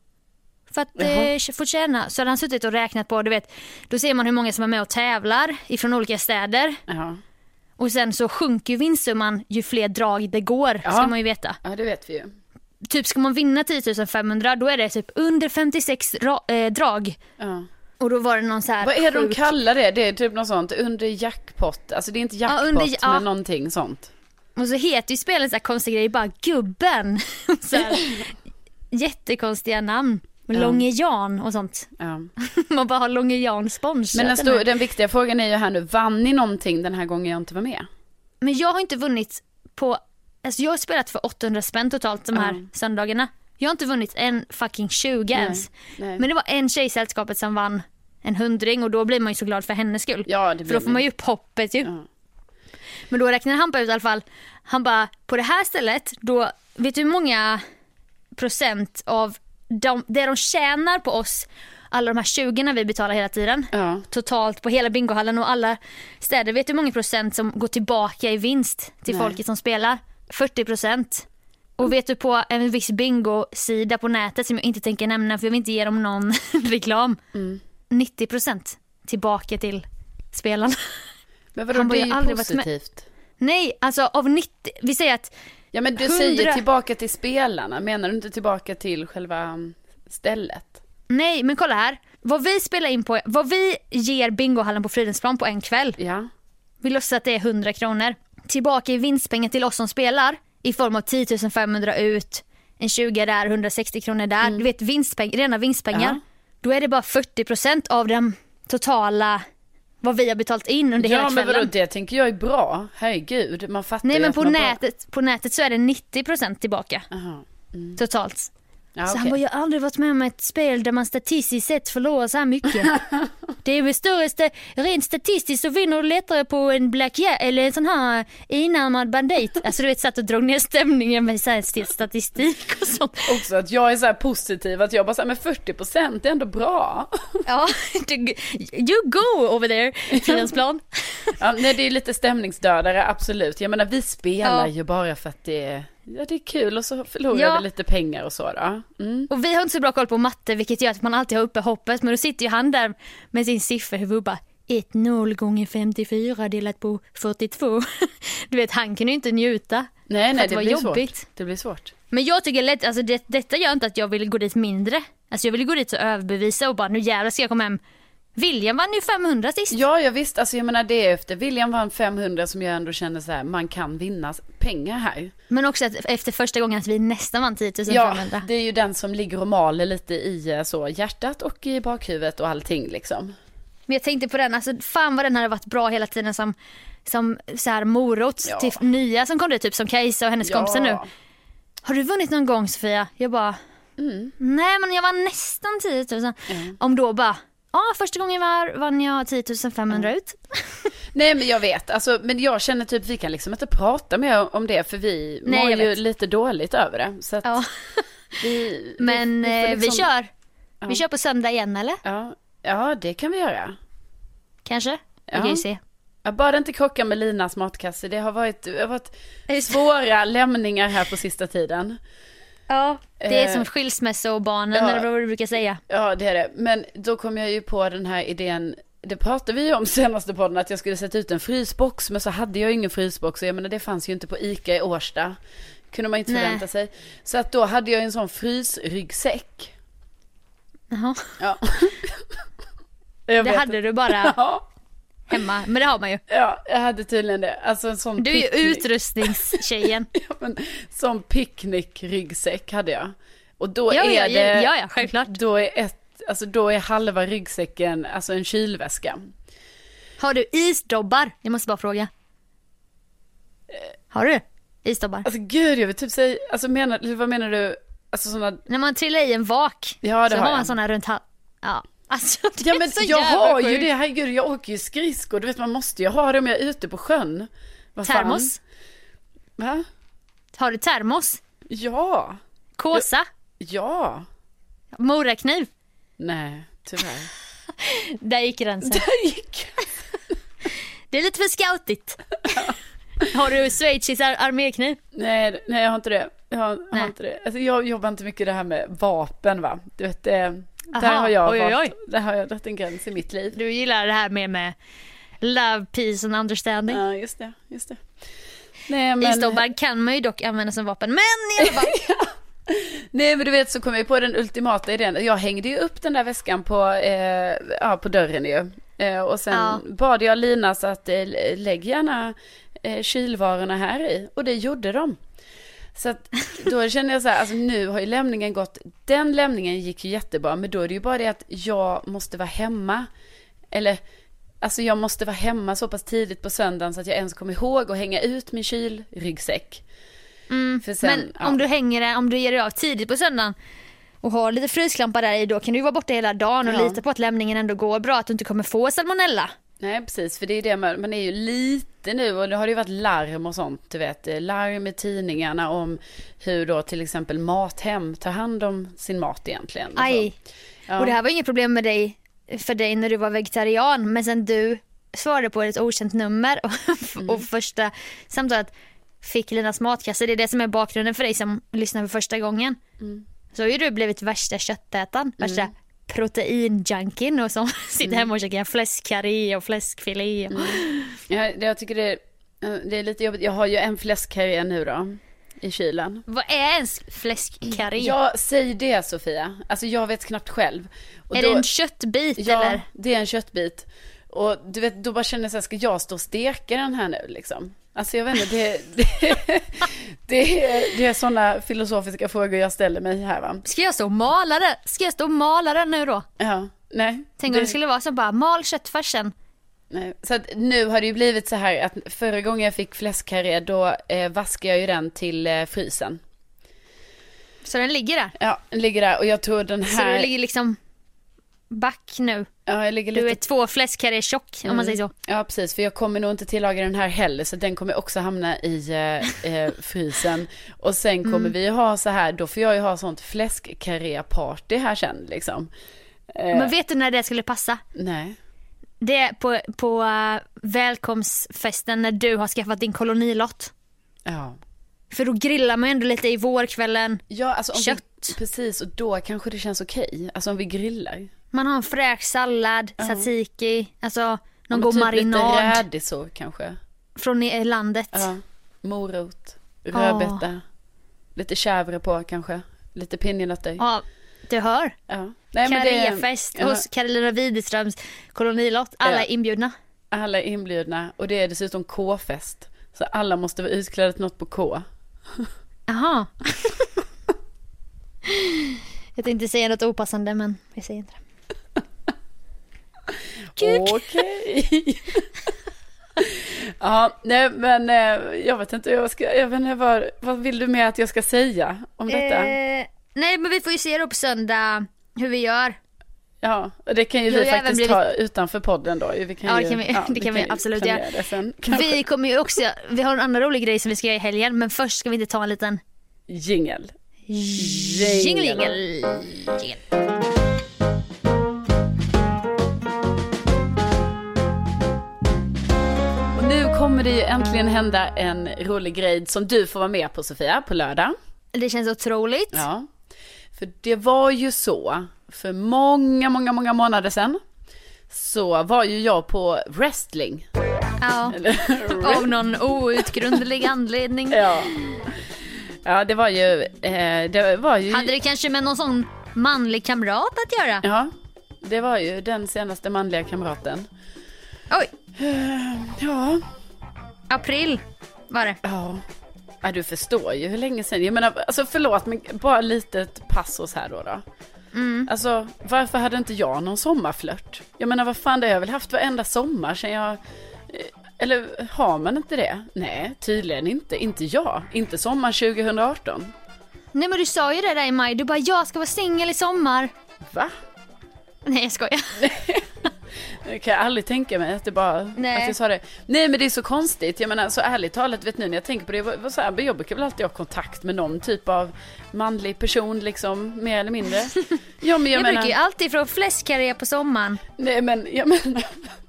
För för att eh, få tjäna. Så hade han suttit och räknat på, du vet, då ser man hur många som är med och tävlar ifrån olika städer.
Ja.
Och sen så sjunker ju vinstsumman ju fler drag det går,
Ja.
ska man ju veta.
ja, det vet vi ju.
Typ ska man vinna 10 500 då är det typ under 56 ra- eh, drag.
Ja.
Och då var det någon så här
Vad är det de
sjuk-
kallar det? Det är typ något sånt under jackpot. Alltså det är inte jackpot
under- ja.
men någonting sånt.
Och så heter ju spelet så här konstiga grejer, bara gubben. så här, jättekonstiga namn. Långe Jan och sånt.
Ja.
Man bara har Långe Jan sponsrat
Men alltså den,
den
stor,
här.
den viktiga frågan är ju här nu, vann ni någonting den här gången jag inte var med?
Men jag har inte vunnit på, alltså jag har spelat för 800 spänn totalt de här söndagarna. Jag har inte vunnit en fucking 20 ens.
nej.
Men det var en tjej i sällskapet som vann en hundring och då blir man ju så glad för hennes skull.
Ja, det
för
blir
då får man ju upp hoppet ju. Men då räknade han på ut i alla fall, han bara på det här stället då, vet du hur många procent av de, det de tjänar på oss, alla de här 20 när vi betalar hela tiden,
Ja.
totalt på hela bingohallen och alla städer, vet du hur många procent som går tillbaka i vinst till folket som spelar? 40 procent. Och vet du på en viss bingosida på nätet som jag inte tänker nämna för jag vill inte ge dem någon reklam. 90 procent tillbaka till spelarna.
Men vadå,
Han var
det är
ju
ju
aldrig varit med.
positivt.
Nej, alltså av 90, vi säger att
Ja men du
100
säger tillbaka till spelarna, menar du inte tillbaka till själva mm, stället?
Nej, men kolla här. Vad vi spelar in på, vad vi ger bingohallen på Fridhemsplan på en kväll.
Ja.
Vi låtsas att det är 100 kronor. Tillbaka i vinstpengar till oss som spelar i form av 10 500 ut, en 20 där, 160 kronor där. Du vet vinstpeng, rena vinstpengar.
Mm. Ja.
Då är det bara 40 av den totala, vad vi har betalat in under hela
Ja men
kvällen.
vadå, det tänker jag är bra. Herregud, man fattar
Nej
ju
men
att
på
man bara-
nätet, på nätet så är det 90 tillbaka
Jaha.
totalt.
Ja,
Så han
Ah, okej.
bara, jag har aldrig varit med om ett spel där man statistiskt sett förlorar så här mycket. det är väl större, sta- rent statistiskt så vinner du lättare på en black ja- eller en sån här inarmad bandit. Alltså du vet, satt och drog ner stämningen med så här st- statistik och sånt.
Också att jag är så här positiv, att jag bara säger men 40 procent är ändå bra.
Ja, du- you go over there, Fridhemsplan.
Ja, nej, det är lite stämningsdödare, absolut. Jag menar, vi spelar
Ja.
ju bara för att det är, ja, det är kul och så förlorar
Ja.
vi lite pengar och så då. Mm.
Och vi har inte så bra koll på matte vilket gör att man alltid har uppe hoppet. Men då sitter ju han där med sin sifferhuvud och bara 1-0 gånger 54 delat på 42. Du vet, han kunde ju inte njuta.
Nej,
För
nej,
att
det,
var
blir
jobbigt.
svårt. Det blir svårt.
Men jag tycker lätt, alltså det, detta gör inte att jag vill gå dit mindre. Alltså jag vill gå dit och överbevisa och bara nu jävlar ska jag komma hem. William vann ju 500 sist.
Ja, jag visst, alltså jag menar det är efter William vann 500 som jag ändå känner så här, man kan vinna pengar här.
Men också att efter första gången att vi nästan vann 10
Ja,
500.
det är ju den som ligger och maler lite i eh, så hjärtat och i bakhuvudet och allting liksom.
Men jag tänkte på den, alltså fan vad den hade varit bra hela tiden som, som så här morot
Ja.
till nya som kom dit, typ som Kajsa och hennes kompisar nu. Har du vunnit någon gång Sofia? Jag bara,
Mm.
nej men jag vann nästan 10 000. Om då bara, ja första gången jag var, vann jag 10 500
Mm.
ut.
Nej men jag vet, alltså, men jag känner typ vi kan liksom inte prata mer om det för vi
Nej,
mår
jag
ju
vet.
lite dåligt över det. Så att
Ja.
vi,
Men eh,
vi, får
vi,
liksom-
kör. Vi kör på söndag igen eller?
Ja, ja, det kan vi göra.
Kanske? Vi
Ja.
kan ju se.
Ja, bara det inte krockar med Linas matkasse. Det har varit, det har varit svåra lämningar här på sista tiden.
Ja. Det är
Eh,
som skilsmässobarnen
ja.
eller vad du brukar säga.
Ja, det är det. Men då kom jag ju på den här idén. Det pratade vi ju om senaste podden att jag skulle sätta ut en frysbox. Men så hade jag ju ingen frysbox. Och jag menar det fanns ju inte på ICA i Årsta. Kunde man inte
Nej.
förvänta sig. Så att då hade jag ju en sån frysryggsäck.
Jaha.
Ja. Jag
Det
vet
hade
inte.
du bara
Ja,
hemma. Men det har man ju.
ja, jag hade tydligen det. Alltså en sån
Du är ju
picknick-
utrustningstjejen.
Ja, men, som picknickryggsäck hade jag. Och då
Ja,
är
ja, ja,
det,
ja, ja, självklart.
Då är, ett, alltså, då är halva ryggsäcken alltså en kylväska.
Har du isdobbar? Jag måste bara fråga. Har du isdobbar?
Alltså gud, jag vill typ säga, alltså menar, vad menar du, alltså sådana,
När man trillar i en vak
Ja, det
så
har
har man
jag.
sådana runt halsen. Ja. Alltså det
ja
är
men
så
jag
jävla
har ju
sjukt.
det, herregud jag åker ju skridskor, du vet man måste ju ha det om jag är ute på sjön. Vad fan?
Termos?
Va?
Har du termos?
Ja,
Kåsa?
ja,
Morakniv?
nej, tyvärr.
Där gick gränsen.
Där gick
Det är lite för scoutigt. Har du schweizisk ar- armékniv?
Nej, nej jag har inte det. Jag har, har
Nej.
inte det. Alltså, jag jobbar inte mycket det här med vapen va. Du vet, det, Där
Aha,
har jag
oj, oj,
valt, där har jag dragit en gräns i mitt liv.
Du gillar det här med, med love, peace and understanding.
Ja, just det, just det. Nej men,
Isdobbar kan man ju dock använda som vapen, men i alla fall.
nej men du vet så kom jag ju på den ultimata idén. Jag hängde ju upp den där väskan på, eh, ja, på dörren ju. Eh, och sen
Ja.
bad jag Lina så att eh, lägg gärna eh, kylvarorna här i. Och det gjorde de. Så att då känner jag så här, alltså nu har ju lämningen gått, den lämningen gick ju jättebra, men då är det ju bara det att jag måste vara hemma. Eller, alltså jag måste vara hemma så pass tidigt på söndagen så att jag ens kommer ihåg att hänga ut min kylryggsäck. För sen,
Mm. men
ja.
om du hänger det- om du ger dig av tidigt på söndagen och har lite fryslampa där i då kan du ju vara borta hela dagen och
Ja.
lita på att lämningen ändå går bra, att du inte kommer få salmonella.
Nej precis, för det är ju det man, man är ju lite nu och nu har det ju varit larm och sånt, du vet. eh, Larm i tidningarna om hur då till exempel Mathem tar hand om sin mat egentligen. alltså. och så.
Aj.
Ja.
Och det här var inget problem med dig, för dig när du var vegetarian men sen du svarade på ett okänt nummer och,
Mm.
och första samtalet fick Linas matkasse. Det är det som är bakgrunden för dig som lyssnar för första gången.
Mm.
Så har ju du blivit värsta köttätaren, värsta proteinjunkien och som sitter hemma och käkar fläskkarré och fläskfilé. Och...
Jag, jag tycker det, eh, det är lite jobbigt. Jag har ju en fläskkarré nu då, i kylen.
Vad är ens fläskkarré?
Ja, säg det Sofia. Alltså jag vet knappt själv. Och
är
då-
det en köttbit
Ja,
eller?
det är en köttbit. Och du vet, då bara känner jag så här, ska jag stå och steka den här nu liksom? Alltså jag vet inte, det, det, det, är- det är sådana filosofiska frågor jag ställer mig här va.
Ska jag stå och mala den? Ska jag stå och mala den nu då?
Ja, nej.
Tänk
det,
om det skulle vara så bara mal köttfärsen.
nej. Så att nu har det ju blivit så här att förra gången jag fick fläskkarré då eh, vaskade jag ju den till eh, frysen.
Så den ligger där.
Ja, den ligger där och jag tror den
Så du
här,
ligger liksom back nu.
ja, jag ligger
Du
lite
är två fläskkarré tjock
Mm.
om man säger så.
Ja, precis. För jag kommer nog inte tillaga den här heller, så den kommer också hamna i eh, eh, frysen. Och sen kommer
Mm.
vi ha så här, då får jag ju ha sånt fläskkarré-party här sen liksom.
Men vet du när det skulle passa?
Nej.
Det är på, på eh, välkomstfesten när du har skaffat din kolonilott.
Ja.
För då grillar man ju ändå lite i vårkvällen.
Ja, alltså om
Kött.
Vi, precis, och då kanske det känns okej. Alltså om vi grillar.
Man har en fräsch sallad, tzatziki, alltså någon
Men
god
typ
marinad
Lite rädisor kanske.
från i- landet.
Ja. Morot, rödbeta, lite chèvre på kanske. Lite pinjenötter.
Ja, du hör.
Ja. Nej, men det-
Karréfest
Ja.
hos Karolina Widerströms kolonilott. Alla
Ja.
är inbjudna.
Alla är inbjudna och det är dessutom K-fest. Så alla måste vara utklädda till något på K.
Jaha. Jag tänkte säga något opassande men vi säger inte det. Kuk.
Okej. ja, nej men eh, jag vet inte, jag, ska, jag vet inte vad, vad vill du med att jag ska säga om detta?
Eh, nej men vi får ju se då på söndag hur vi gör.
ja, och det kan ju
jag har
vi
ju även
faktiskt
blivit-
ta utanför podden då. Vi kan
Ja, det
ju,
kan vi- det kan vi absolut
planera
göra.
Det sen, kanske.
Vi kommer ju också, vi har en annan rolig grej som vi ska göra i helgen men först ska vi inte ta en liten
Jingel.
jingle jingle. jingle.
Och nu kommer det ju äntligen hända en rolig grej som du får vara med på Sofia, på lördag.
Det känns otroligt.
Ja. För det var ju så, för många, många, många månader sedan, så var ju jag på wrestling.
Ja. Av någon outgrundlig anledning.
Ja. Ja, det var ju, eh, det var ju...
Hade det kanske med någon sån manlig kamrat att göra?
Ja, det var ju den senaste manliga kamraten.
Oj,
Ja.
april var det.
Ja. Ja, du förstår ju hur länge sedan. Jag menar, alltså förlåt, men bara litet passus här då. då. Alltså, varför hade inte jag någon sommarflört? Jag menar, vad fan, det har jag väl haft varenda sommar sedan jag... eh, Eller har man inte det? Nej, tydligen inte. Inte jag. Inte sommaren 2018.
Nej men du sa ju det där i maj, du bara jag ska vara singel i sommar.
Va?
Nej jag skojar.
Det kan jag aldrig tänka mig att det bara,
Nej.
att jag sa det. Nej men det är så konstigt, jag menar så ärligt talat vet nu när jag tänker på det, vad, vad så här, men jag brukar väl alltid ha kontakt med någon typ av manlig person liksom, mer eller mindre. Ja men jag,
Jag,
menar,
brukar ju alltid få fläskkarré på sommaren.
nej men jag menar,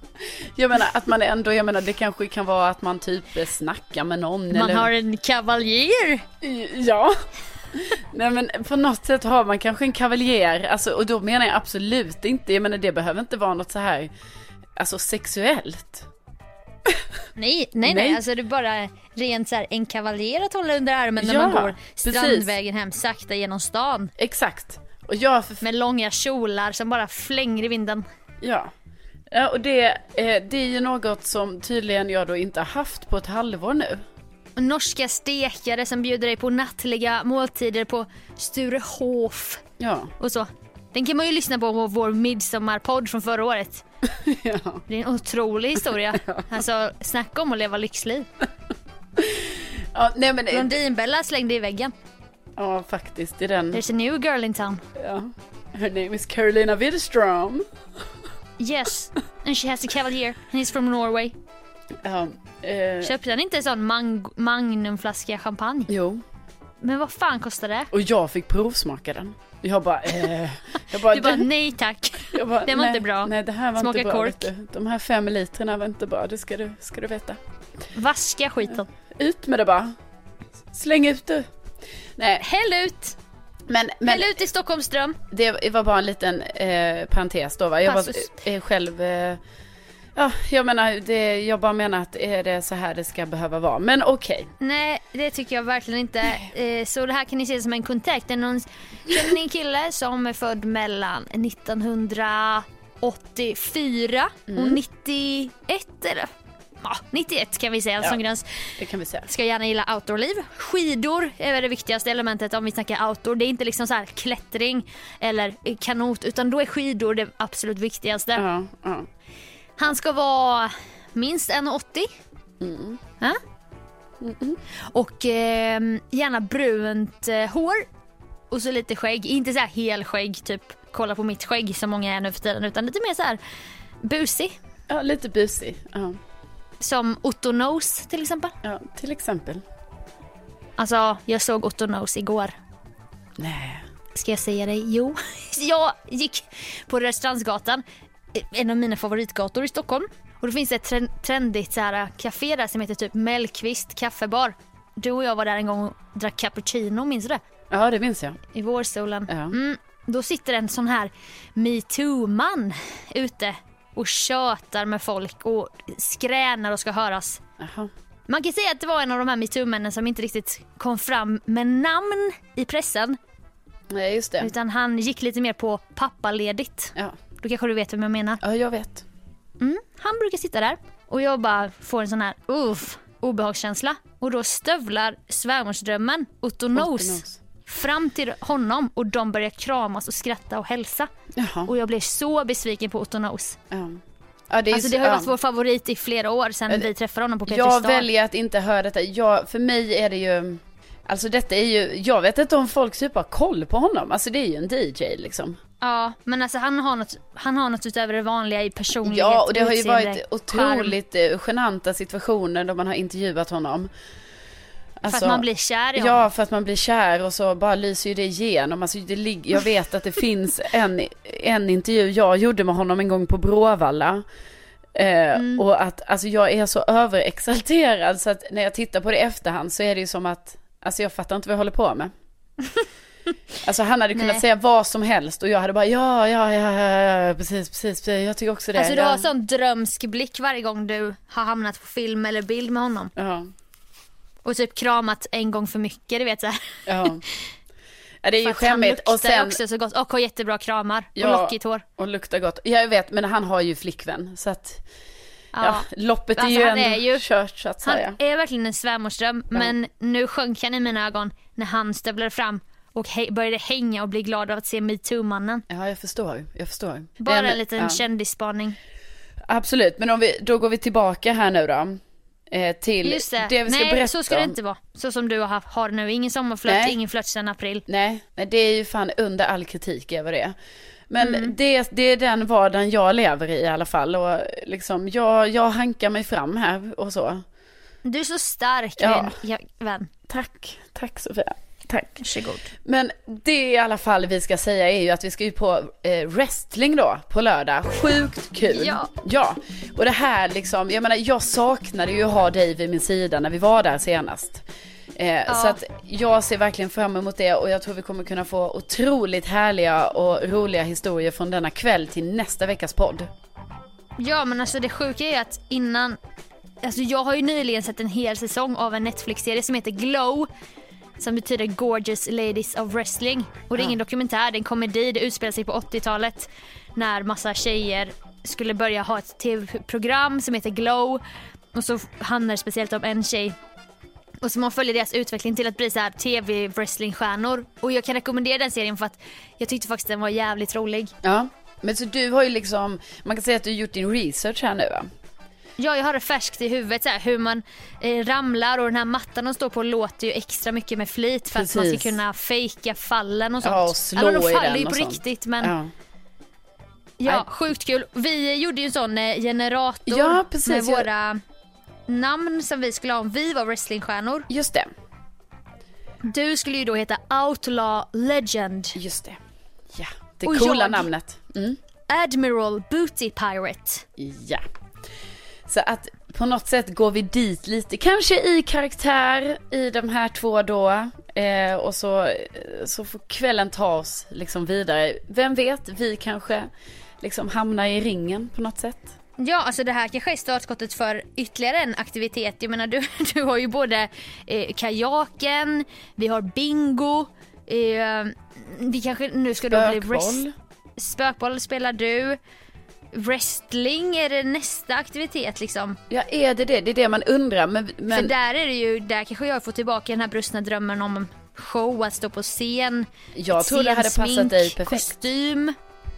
jag menar att man ändå, jag menar det kanske kan vara att man typ snackar med någon
Man
eller
har en kavaljer.
Ja, Nej men på något sätt har man kanske en kavaljer, alltså, och då menar jag absolut inte, jag menar det behöver inte vara något så här, alltså sexuellt.
Nej, nej, nej.
Nej.
Alltså det är bara rent så här, en kavaljer att hålla under armen när
Ja,
man går
precis.
strandvägen hem sakta genom stan.
Exakt. Och jag, för,
Med långa kjolar som bara flänger i vinden.
ja. ja och det, eh, det är ju något som tydligen jag då inte har haft på ett halvår nu.
Och norska stekare som bjuder dig på nattliga måltider på Sturehof
Ja.
och så. Den kan man ju lyssna på på vår midsommarpodd från förra året.
ja.
Det är en otrolig historia. Alltså, snacka om att leva lyxliv.
ja nej men, eh,
Blondinbella slängde i väggen.
ja faktiskt, det är den.
There's a new girl in town.
Ja. Her name is Carolina Widerström.
Yes, and she has a cavalier and he's from Norway.
Ja. Eh,
Köpte han inte en sån mang- magnumflaska champagne?
jo.
Men vad fan kostar det?
Och jag fick provsmaka den. Jag bara, eh, jag bara,
Du bara nej tack.
Jag bara,
Det var
nej,
inte bra.
Nej, det här var
Smaka
inte bra.
kork.
vet du. De här fem literna var inte bra, det ska du, ska du veta.
Vaska skiten.
Ut med det bara. Släng ut det. Nej,
Häll ut!
men, men
Häll ut i Stockholmström.
det var bara en liten eh, parentes då va. Jag var
Passus.
eh, själv, eh, ja, jag menar, det, jag bara menar att är det så här det ska behöva vara. Men okej.
Nej, det tycker jag verkligen inte. Eh, Så det här kan ni se som en kontakt. En någon... Känner ni en kille som är född mellan 1984
Mm.
och 91 eller? Ja, 91 kan vi säga
Ja.
som gräns.
Det kan vi säga.
Ska gärna gilla outdoorliv. Skidor är väl det viktigaste elementet om vi snackar outdoor. Det är inte liksom så här klättring eller eh, kanot utan då är skidor det absolut viktigaste.
Ja, ja.
Han ska vara minst 1,80. Ja? Och eh, gärna brunt eh, hår och så lite skägg. Inte så här helskägg, typ kolla på mitt skägg som många är nu för tiden utan lite mer så här busig.
ja lite busig. Ja,
Som Otto Nose till exempel.
ja, till exempel.
Alltså, jag såg Otto Nose igår.
Nej.
Ska jag säga dig? Jo, jag gick på Rörstrandsgatan, eh, en av mina favoritgator i Stockholm. Och då finns det ett tren- trendigt så här eh, café där som heter typ Mellqvist kaffebar. Du och jag var där en gång och drack cappuccino, minns du det?
Ja, det minns jag.
I vårsolen.
Ja.
Mm, då sitter en sån här metoo-man ute och tjötar med folk och skränar och ska höras.
Jaha.
Man kan säga att det var en av de här metoo-männen som inte riktigt kom fram med namn i pressen.
Nej, just det.
Utan han gick lite mer på pappaledigt.
Ja,
Då kanske du vet vem jag menar.
ja jag vet.
Han brukar sitta där och jag bara får en sån här uff, obehagskänsla. Och då stövlar svärmorsdrömmen Otto Nose
Nose.
fram till honom och de börjar kramas och skratta och hälsa.
Jaha.
Och jag blev så besviken på Otto Nose.
Ja. Ja, det, är
Alltså
så-
det har ju
ja.
varit vår favorit i flera år sedan vi träffade honom på Petrestad.
Jag väljer att inte höra detta. Jag, för mig är det ju... Alltså detta är ju... Jag vet inte om folk typ har koll på honom. Alltså det är ju en DJ liksom.
Ja, men alltså han har något, han har något utöver det vanliga i personlighet,
Ja, och det har ju
utseende,
varit
charm.
otroligt eh, genanta situationer då man har intervjuat honom.
För
Alltså-
att man blir kär i honom.
Ja, för att man blir kär och så bara lyser ju det igenom. Alltså, det lig- jag vet att det finns en, en intervju jag gjorde med honom en gång på Bråvalla. Eh,
Mm.
Och att alltså, jag är så överexalterad så att när jag tittar på det i efterhand så är det ju som att, alltså jag fattar inte vad jag håller på med. Alltså han hade kunnat
Nej.
säga vad som helst och jag hade bara ja, ja, ja, ja, ja, precis, precis, precis, jag tycker också det.
Alltså du har
ja.
sån drömsk blick varje gång du har hamnat på film eller bild med honom.
Ja,
Och typ kramat en gång för mycket, du vet såhär.
ja. ja, det är ju
För att han
skämmigt.
luktar
Och sen,
också så gott och har jättebra kramar
Ja.
och lockigt hår.
Och luktar gott. Ja, jag vet, men han har ju flickvän. Så att, ja.
Ja.
loppet är
Alltså,
ju
han
ändå
är ju-
kört så att
Han
säga.
är verkligen en svärmorsdröm men nu sjönk han i mina ögon när han stövlade fram och he- började hänga och bli glad av att se metoo-mannen.
Ja, jag förstår. Jag förstår.
Bara
Men-
en liten
ja.
kändisspaning.
Absolut, men om vi, då går vi tillbaka här nu då. Eh, till
Just det.
det vi ska
Nej,
berätta
så ska det
om.
inte vara. Så som du har, haft- har nu. Ingen sommarflört,
Nej.
ingen flört sedan april.
Nej, nej, det är ju fan under all kritik är vad det är. Men
Mm.
det, det är den vardagen jag lever i i alla fall. Och liksom, jag, jag hankar mig fram här och så.
Du är så stark
Ja.
vän. Ja, vän.
Tack, tack Sofia. Tack.
Varsågod.
Men det i alla fall vi ska säga är ju att vi ska ju på eh, wrestling då på lördag. Sjukt kul.
Ja.
ja. Och det här liksom, jag menar jag saknade ju att ha dig vid min sida när vi var där senast. Eh, Så att jag ser verkligen fram emot det och jag tror vi kommer kunna få otroligt härliga och roliga historier från denna kväll till nästa veckas podd.
Ja men alltså det sjuka är att innan, alltså jag har ju nyligen sett en hel säsong av en Netflix-serie som heter Glow. Som betyder Gorgeous Ladies of Wrestling. Och det är ingen dokumentär, det är en komedi. Det utspelar sig på 80-talet. När massa tjejer skulle börja ha ett tv-program som heter Glow. Och så handlar det speciellt om en tjej och så man följer deras utveckling till att bli så här tv-wrestlingstjärnor. Och jag kan rekommendera den serien för att jag tyckte faktiskt den var jävligt rolig.
Ja, men så du har ju liksom, man kan säga att du har gjort din research här nu va?
Ja, jag har det färskt i huvudet så här, hur man eh, ramlar och den här mattan de står på låter ju extra mycket med flit för att man
Precis.
ska kunna fejka fallen och sånt.
Ja, och slå
Eller de
i
faller
den
ju på
och sånt.
riktigt men ja,
Ja. Nej.
sjukt kul. Vi eh, gjorde ju en sån eh, generator
Ja, precis.
med
Jag-
våra namn som vi skulle ha om vi var wrestlingstjärnor.
Just det,
Du skulle ju då heta Outlaw Legend.
just det. Ja, det
Och
coola
jag-
namnet. Mm.
Admiral Booty Pirate.
Ja. Så att på något sätt går vi dit lite, kanske i karaktär i de här två då. Eh, och så, eh, så får kvällen ta oss liksom vidare. Vem vet, vi kanske liksom hamnar i ringen på något sätt.
Ja, alltså det här kanske är startskottet för ytterligare en aktivitet. Jag menar, du, du har ju både eh, kajaken, vi har bingo, eh, vi kanske nu ska då bli
Bökboll.
wrest- spökboll spelar du. Wrestling är det nästa aktivitet liksom.
Ja, är det det? Det är det man undrar. Men, men...
För där är det ju, där kanske jag får tillbaka den här brustna drömmen om show, att stå på scen.
Jag
ett
tror det hade
scensmink,
passat dig perfekt.
Kostym.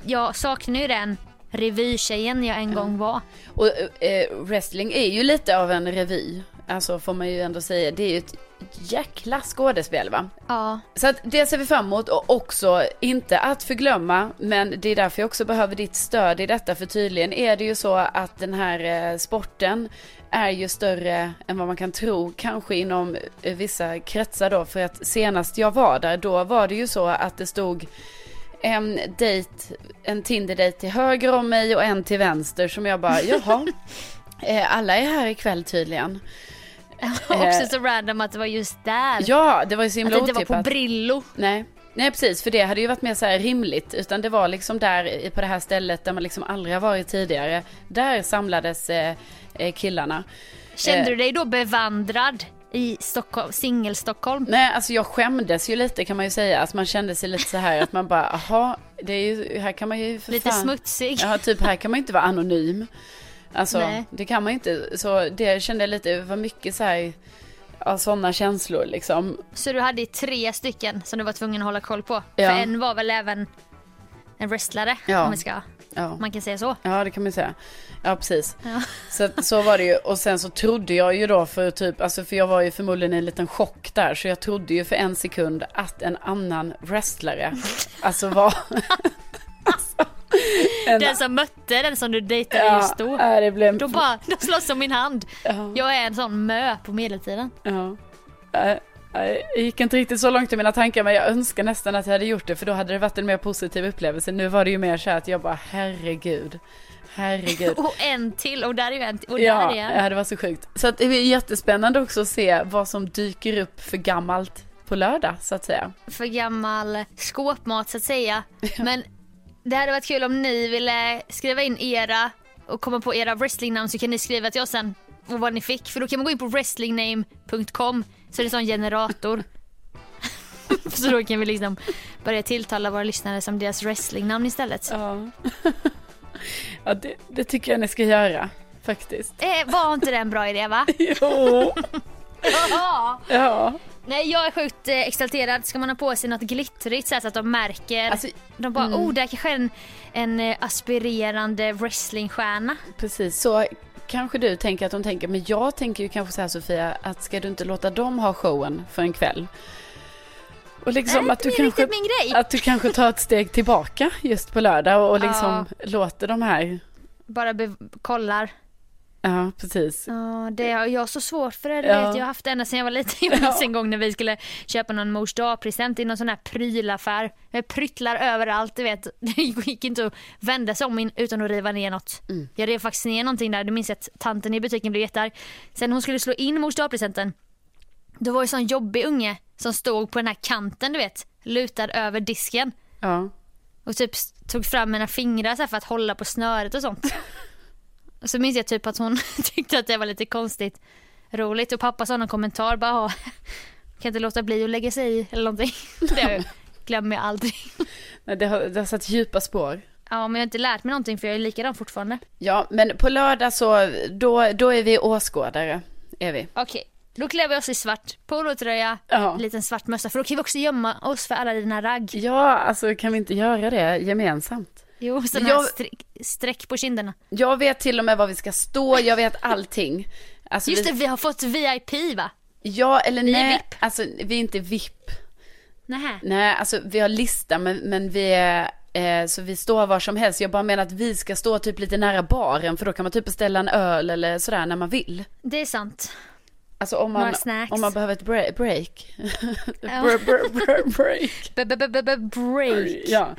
Jag saknar ju den revytjejen jag en gång var.
Och eh, wrestling är ju lite av en revy. Alltså får man ju ändå säga. Det är ju ett jäkla skådespel va?
Ja.
Så att det ser vi fram emot och också inte att förglömma. Men det är därför jag också behöver ditt stöd i detta. För tydligen är det ju så att den här eh, sporten är ju större än vad man kan tro. Kanske inom eh, vissa kretsar då. För att senast jag var där då var det ju så att det stod en dejt, en Tinder-dejt till höger om mig och en till vänster som jag bara, jaha, eh, alla är här ikväll tydligen.
Också så random att det var just där.
Eh, Ja, det var ju så
att
himla
det inte var på
otippat.
Brillo.
Nej. Nej precis, för det hade ju varit mer så här rimligt. Utan det var liksom där i- på det här stället där man liksom aldrig har varit tidigare. Där samlades eh, eh, killarna.
Kände
Eh.
du dig då bevandrad i Stockholm, singel-Stockholm?
Nej alltså jag skämdes ju lite kan man ju säga. Att man kände sig lite så här att man bara, aha, det är ju, här kan man ju för
Lite
fan.
smutsig.
Ja typ här kan man ju inte vara anonym. Alltså
Nej.
det kan man ju inte. Så det kände jag lite, det var mycket så här, ja sådana känslor liksom.
Så du hade tre stycken som du var tvungen att hålla koll på.
Ja.
För en var väl även en wrestlare
Ja.
om vi ska,
Ja.
man kan säga så.
Ja, det kan man ju säga. Ja, precis. Så, att- så var det ju. Och sen så trodde jag ju då för typ, alltså för jag var ju förmodligen i en liten chock där. Så jag trodde ju för en sekund att en annan wrestlare, alltså var... alltså, en-
Den som mötte den som du dejtade
ja,
just då.
ja, det blev...
Då bara, de slåss om min hand.
Ja.
Jag är en sån mö på medeltiden.
Ja. Nej, nej, Jag gick inte riktigt så långt i mina tankar men jag önskar nästan att jag hade gjort det för då hade det varit en mer positiv upplevelse. Nu var det ju mer så här att jag bara herregud, herregud.
Och en till och där är ju en till. Och
Ja,
där är en.
ja, det var så sjukt. Så att det är jättespännande också att se vad som dyker upp för gammalt på lördag så att säga.
För gammal skåpmat så att säga. Men det hade varit kul om ni ville skriva in era och komma på era wrestlingnamn så kan ni skriva till oss sen och vad ni fick. För då kan man gå in på wrestlingname.com så är det sån generator. så då kan vi liksom börja tilltala våra lyssnare som deras wrestlingnamn istället.
Ja, ja det, det tycker jag ni ska göra faktiskt.
Eh, var inte det en bra idé va?
Jo,
Ja.
ja.
Nej jag är sjukt eh, exalterad. Ska man ha på sig något glittrigt så, här, så att de märker.
Alltså,
de bara oh där kanske är en, en eh, aspirerande wrestlingstjärna.
Precis, så kanske du tänker att de tänker, men jag tänker ju kanske så här Sofia, att ska du inte låta dem ha showen för en kväll? Och liksom
Äh,
att du
det är riktigt
kanske,
min grej.
att du kanske tar ett steg tillbaka just på lördag och liksom låter de här,
Bara bev- kollar.
ja precis,
Ja, det har jag har så svårt för det. du
Ja.
Vet, jag har haft det ända sedan jag var liten. Jag minns en gång när vi skulle köpa någon mors dag-present i någon sån här prylaffär. Med pryttlar överallt, du vet. Det gick inte att vända sig om in- utan att riva ner något. Jag rev faktiskt ner någonting där. Det minns jag att tanten i butiken blev jättearg. Sen hon skulle slå in mors dag-presenten. Det var ju sån jobbig unge som stod på den här kanten du vet, lutad över disken
Ja.
och typ s- tog fram mina fingrar så här för att hålla på snöret och sånt. Och så minns jag typ att hon tyckte att det var lite konstigt roligt och pappa sa någon kommentar bara "Ja, kan inte låta bli att lägga sig i eller någonting. Det glömmer jag aldrig.
Nej, det, har, det har satt djupa spår.
Ja men jag har inte lärt mig någonting för jag är likadan fortfarande.
Ja, men på lördag så, då, då är vi åskådare. Är vi.
Okej, då klär vi oss i svart. Polotröja,
Ja.
liten svart mössa. För då kan vi också gömma oss för alla dina ragg.
Ja, alltså kan vi inte göra det gemensamt?
Jo, sådana
Jag-
här streck, streck på kinderna.
Jag vet till och med var vi ska stå, jag vet allting. Alltså,
Just det, vi har fått VIP va?
Ja, eller
Vi är
nej,
VIP.
alltså vi är inte VIP.
Nähä.
Nej, alltså vi har lista, men, men vi är, eh, så vi står var som helst. Jag bara menar att vi ska stå typ lite nära baren, för då kan man typ beställa en öl eller sådär när man vill.
Det är sant.
Alltså om
Några
man,
snacks.
om man behöver ett break. break. Br- br- br- break.
B-b-b-b-break.
Ja.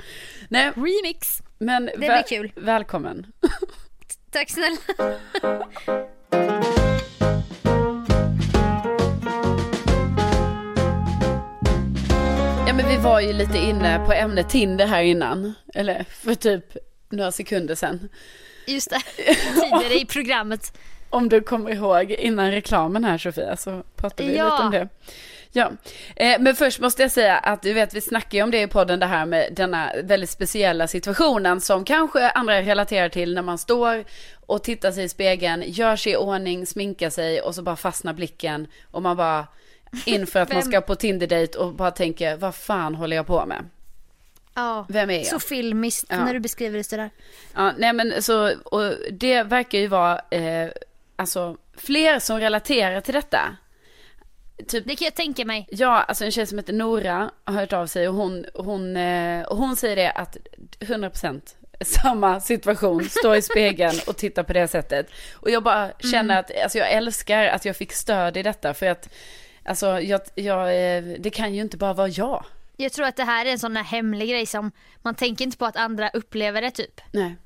Nej,
Remix.
men
blir
väl-
kul.
välkommen.
Tack snälla.
Ja men vi var ju lite inne på ämnet Tinder här innan. Eller för typ några sekunder sedan.
Just det, tidigare i programmet.
Om du kommer ihåg innan reklamen här Sofia så pratade vi
Ja.
lite om det. Ja, eh, men först måste jag säga att du vet vi snackar ju om det i podden det här med denna väldigt speciella situationen som kanske andra relaterar till när man står och tittar sig i spegeln, gör sig i ordning, sminkar sig och så bara fastnar blicken och man bara inför att man
Vem-
ska på Tinder-dejt och bara tänker vad fan håller jag på med?
Ja.
Vem är jag?
Så filmiskt
Ja.
när du beskriver det sådär.
Ja, nej men så, och det verkar ju vara, eh, alltså fler som relaterar till detta. Typ,
Det kan jag tänka mig.
ja alltså en tjej som heter Nora har hört av sig och hon, hon, eh, och hon säger det att 100% samma situation, stå i spegeln och titta på det sättet. Och jag bara känner att, alltså jag älskar att jag fick stöd i detta för att, alltså jag, jag, eh, det kan ju inte bara vara jag.
Jag tror att det här är en sån där hemlig grej som man tänker inte på att andra upplever det typ.
Nej.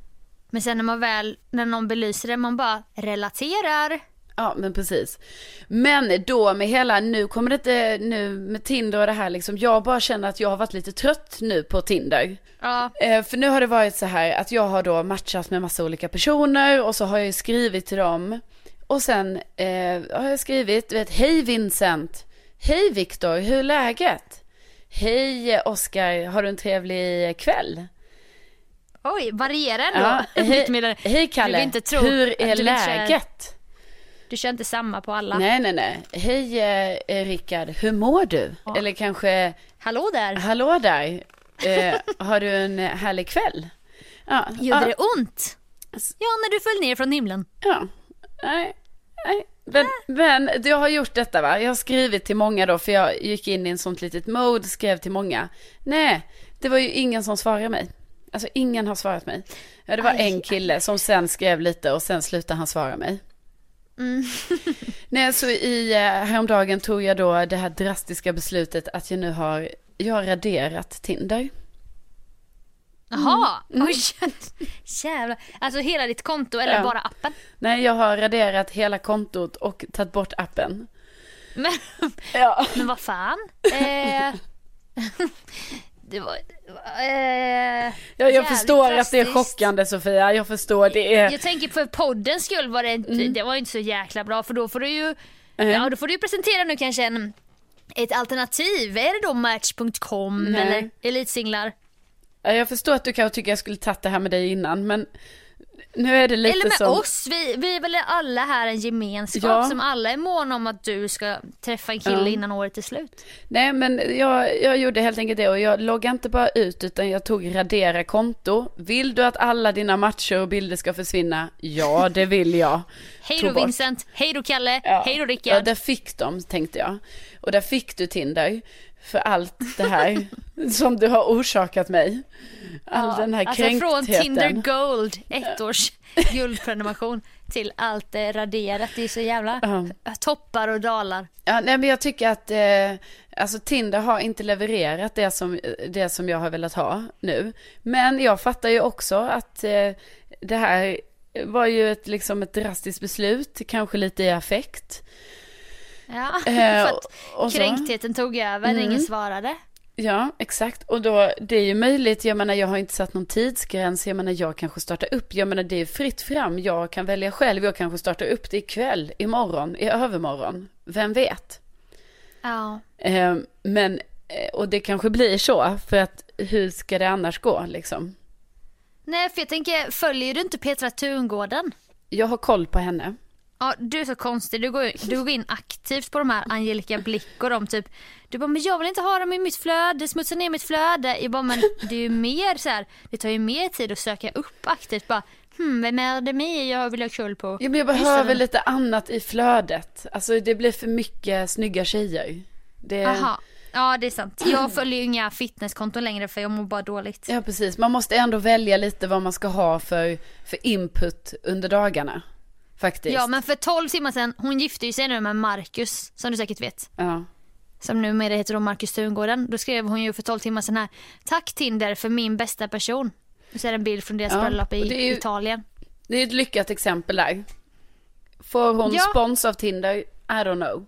Men sen när man väl, när någon belyser det, man bara relaterar.
Ja men precis. Men då med hela, nu kommer det inte, nu med Tinder och det här liksom, jag bara känner att jag har varit lite trött nu på Tinder.
Ja,
Eh, för nu har det varit så här att jag har då matchat med massa olika personer och så har jag ju skrivit till dem. Och sen eh, har jag skrivit, du vet, hej Vincent, hej Viktor, hur är läget? Hej Oskar, har du en trevlig kväll?
oj, varierar
Ja,
ändå. lite
hej,
mer.
hej
Du
Kalle,
vill inte tro
hur är
att du vill köra-
läget?
Du kör inte samma på alla.
Nej, nej, nej. Hej eh, eh, Rickard, hur mår du? Eller kanske,
Hallå där,
hallå där, eh, har du en härlig kväll? Ja,
gjorde
ja,
det ont? Ja, när du föll ner från himlen.
ja. Nej, nej. Men, men jag har gjort detta va, jag har skrivit till många då för jag gick in i en sånt litet mode, skrev till många. Nej, det var ju ingen som svarade mig. Alltså ingen har svarat mig. Ja, det var en kille som sen skrev lite och sen slutade han svara mig. Nej, så i, eh, häromdagen tog jag då det här drastiska beslutet att jag nu har, jag har raderat Tinder.
Jaha, oj jävlar. Alltså hela ditt konto eller
Mm. Ja.
bara appen?
Nej, jag har raderat hela kontot och tagit bort appen.
Men,
Ja.
men vad fan. Eh, det var... Eh,
Jag, jag
jävligt
förstår att det är
drastiskt.
chockande Sofia, jag förstår. Det är,
Jag tänker för poddens skull var det inte,
Mm.
det var ju inte så jäkla bra för då får du ju,
Eh.
ja, då får du ju presentera nu kanske en, ett alternativ. Är det då match.com
Nej.
eller elitsinglar?
Ja, jag förstår att du kanske tycker jag skulle tagit det här med dig innan, men nu är det lite
Eller med
som...
oss, vi, vi är väl alla här en gemenskap
Ja.
som alla är måna om att du ska träffa en kille
Ja.
innan året är slut.
Nej, men jag, jag gjorde helt enkelt det och jag loggade inte bara ut utan jag tog radera konto. Vill du att alla dina matcher och bilder ska försvinna? Ja, det vill jag.
Hej
Tog
då
bort.
Vincent, hej då Kalle,
Ja.
hej då
Ja,
Rickard.
där fick de, tänkte jag. Och där fick du Tinder för allt det här som du har orsakat mig. All den här
Alltså
kränktheten.
från Tinder Gold, ett års guldprenumeration till allt eh, raderat. Det är så jävla toppar och dalar.
Ja, nej, men jag tycker att eh, alltså Tinder har inte levererat det som, det som jag har velat ha nu. Men jag fattar ju också att eh, det här var ju ett, liksom ett drastiskt beslut, kanske lite i affekt.
Ja,
Eh,
för att
och så. Mm.
Kränktheten tog över när ingen svarade.
Ja, exakt. Och då, det är ju möjligt, jag menar jag har inte satt någon tidsgräns, jag menar jag kanske startar upp, jag menar det är fritt fram, jag kan välja själv, jag kanske startar upp det ikväll, imorgon, i övermorgon, vem vet?
Ja.
Eh, men, eh, och det kanske blir så, för att hur ska det annars gå liksom?
Nej, för jag tänker, följer du inte Petra Tungården?
Jag har koll på henne.
Ja, du är så konstig. Du går, ju- du går in aktivt på de här Angelica Blick och de typ. Du bara, men jag vill inte ha dem i mitt flöde, det smutsar ner mitt flöde. Jag bara, men det är ju mer så här, det tar ju mer tid att söka upp aktivt. Bara, hmm, vem är det mig jag vill ha kul på?
Ja, men jag behöver lite annat i flödet. Alltså det blir för mycket snygga tjejer. Det...
Aha. Ja, det är sant. Jag följer ju inga fitnesskonton längre för jag mår bara dåligt.
Ja, precis. Man måste ändå välja lite vad man ska ha för, för input under dagarna. Faktiskt.
Ja, men för 12 timmar sedan, hon gifte ju sig nu med Marcus, som du säkert vet.
Ja.
som numera heter då Marcus Tungården. Då skrev hon ju för 12 timmar sedan här. Tack Tinder för min bästa person. Och så är det en bild från deras
Ja,
bröllop i
och det är ju-
Italien.
Det är ett lyckat exempel där. Får hon
Ja.
spons av Tinder? I don't know.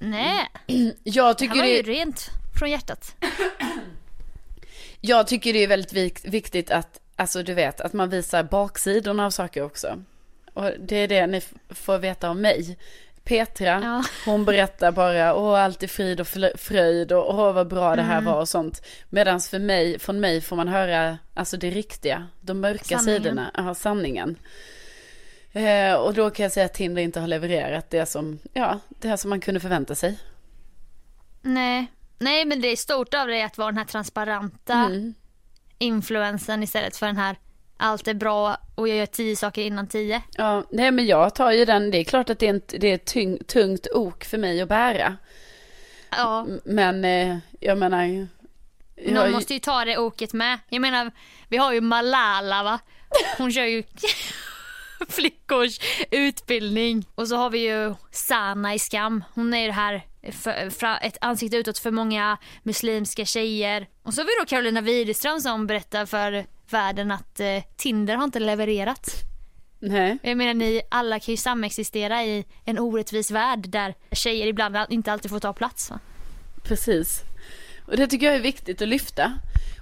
Mm.
Nej,
Jag
det
tycker
var
det,
ju rent från hjärtat.
jag tycker det är väldigt vik- viktigt att, alltså du vet, att man visar baksidorna av saker också. Och det är det ni f- får veta om mig. Petra,
Ja.
hon berättar bara, åh allt är frid och fl- fröjd och åh vad bra det
Mm.
här var och sånt. Medan för mig, från mig får man höra, alltså det riktiga, de mörka
Sanningen.
sidorna, ja sanningen. Eh, och då kan jag säga att Tinder inte har levererat det som, ja, det här som man kunde förvänta sig.
Nej. Nej, men det är stort av dig att vara den här transparenta
Mm.
influensen istället för den här allt är bra och jag gör tio saker innan tio.
Ja, nej men jag tar ju den, det är klart att det är, en, det är ett tyng, tungt ok för mig att bära.
Ja,
Men eh, jag menar,
någon
jag,
måste ju ta det oket med. Jag menar, vi har ju Malala va? Hon kör ju flickors utbildning. Och så har vi ju Sana i Skam. Hon är ju det här för, fra- ett ansikte utåt för många muslimska tjejer. Och så har vi då Carolina Widerström som berättar för världen att eh, Tinder har inte levererat.
nej,
Jag menar ni alla kan ju samexistera i en orättvis värld där tjejer ibland inte alltid får ta plats. Va?
precis. Och det tycker jag är viktigt att lyfta.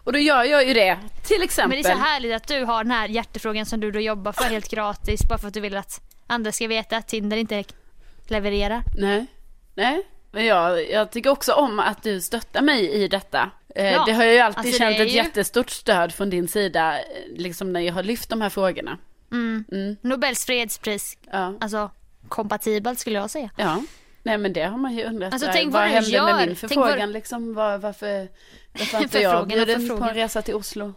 Och då gör jag ju det, till exempel.
Men det är så härligt att du har den här hjärtefrågan som du då jobbar för helt gratis bara för att du vill att andra ska veta att Tinder inte levererar.
Nej, nej. Men jag, jag tycker också om att du stöttar mig i detta. Eh,
Ja,
det har jag ju alltid
alltså det
känt
är
ett
ju-
jättestort stöd från din sida, eh, liksom när jag har lyft de här frågorna.
Nobels fredspris,
Ja,
alltså kompatibelt skulle jag säga.
ja. Nej men det har man ju undrat.
Alltså,
där.
tänk vad
vad
du
hände
gör.
med
Tänk
min förfrågan
vad-
liksom? Var, varför varför inte
Förfrågan
jag
och
bjuden på
förfrågan.
en resa till Oslo?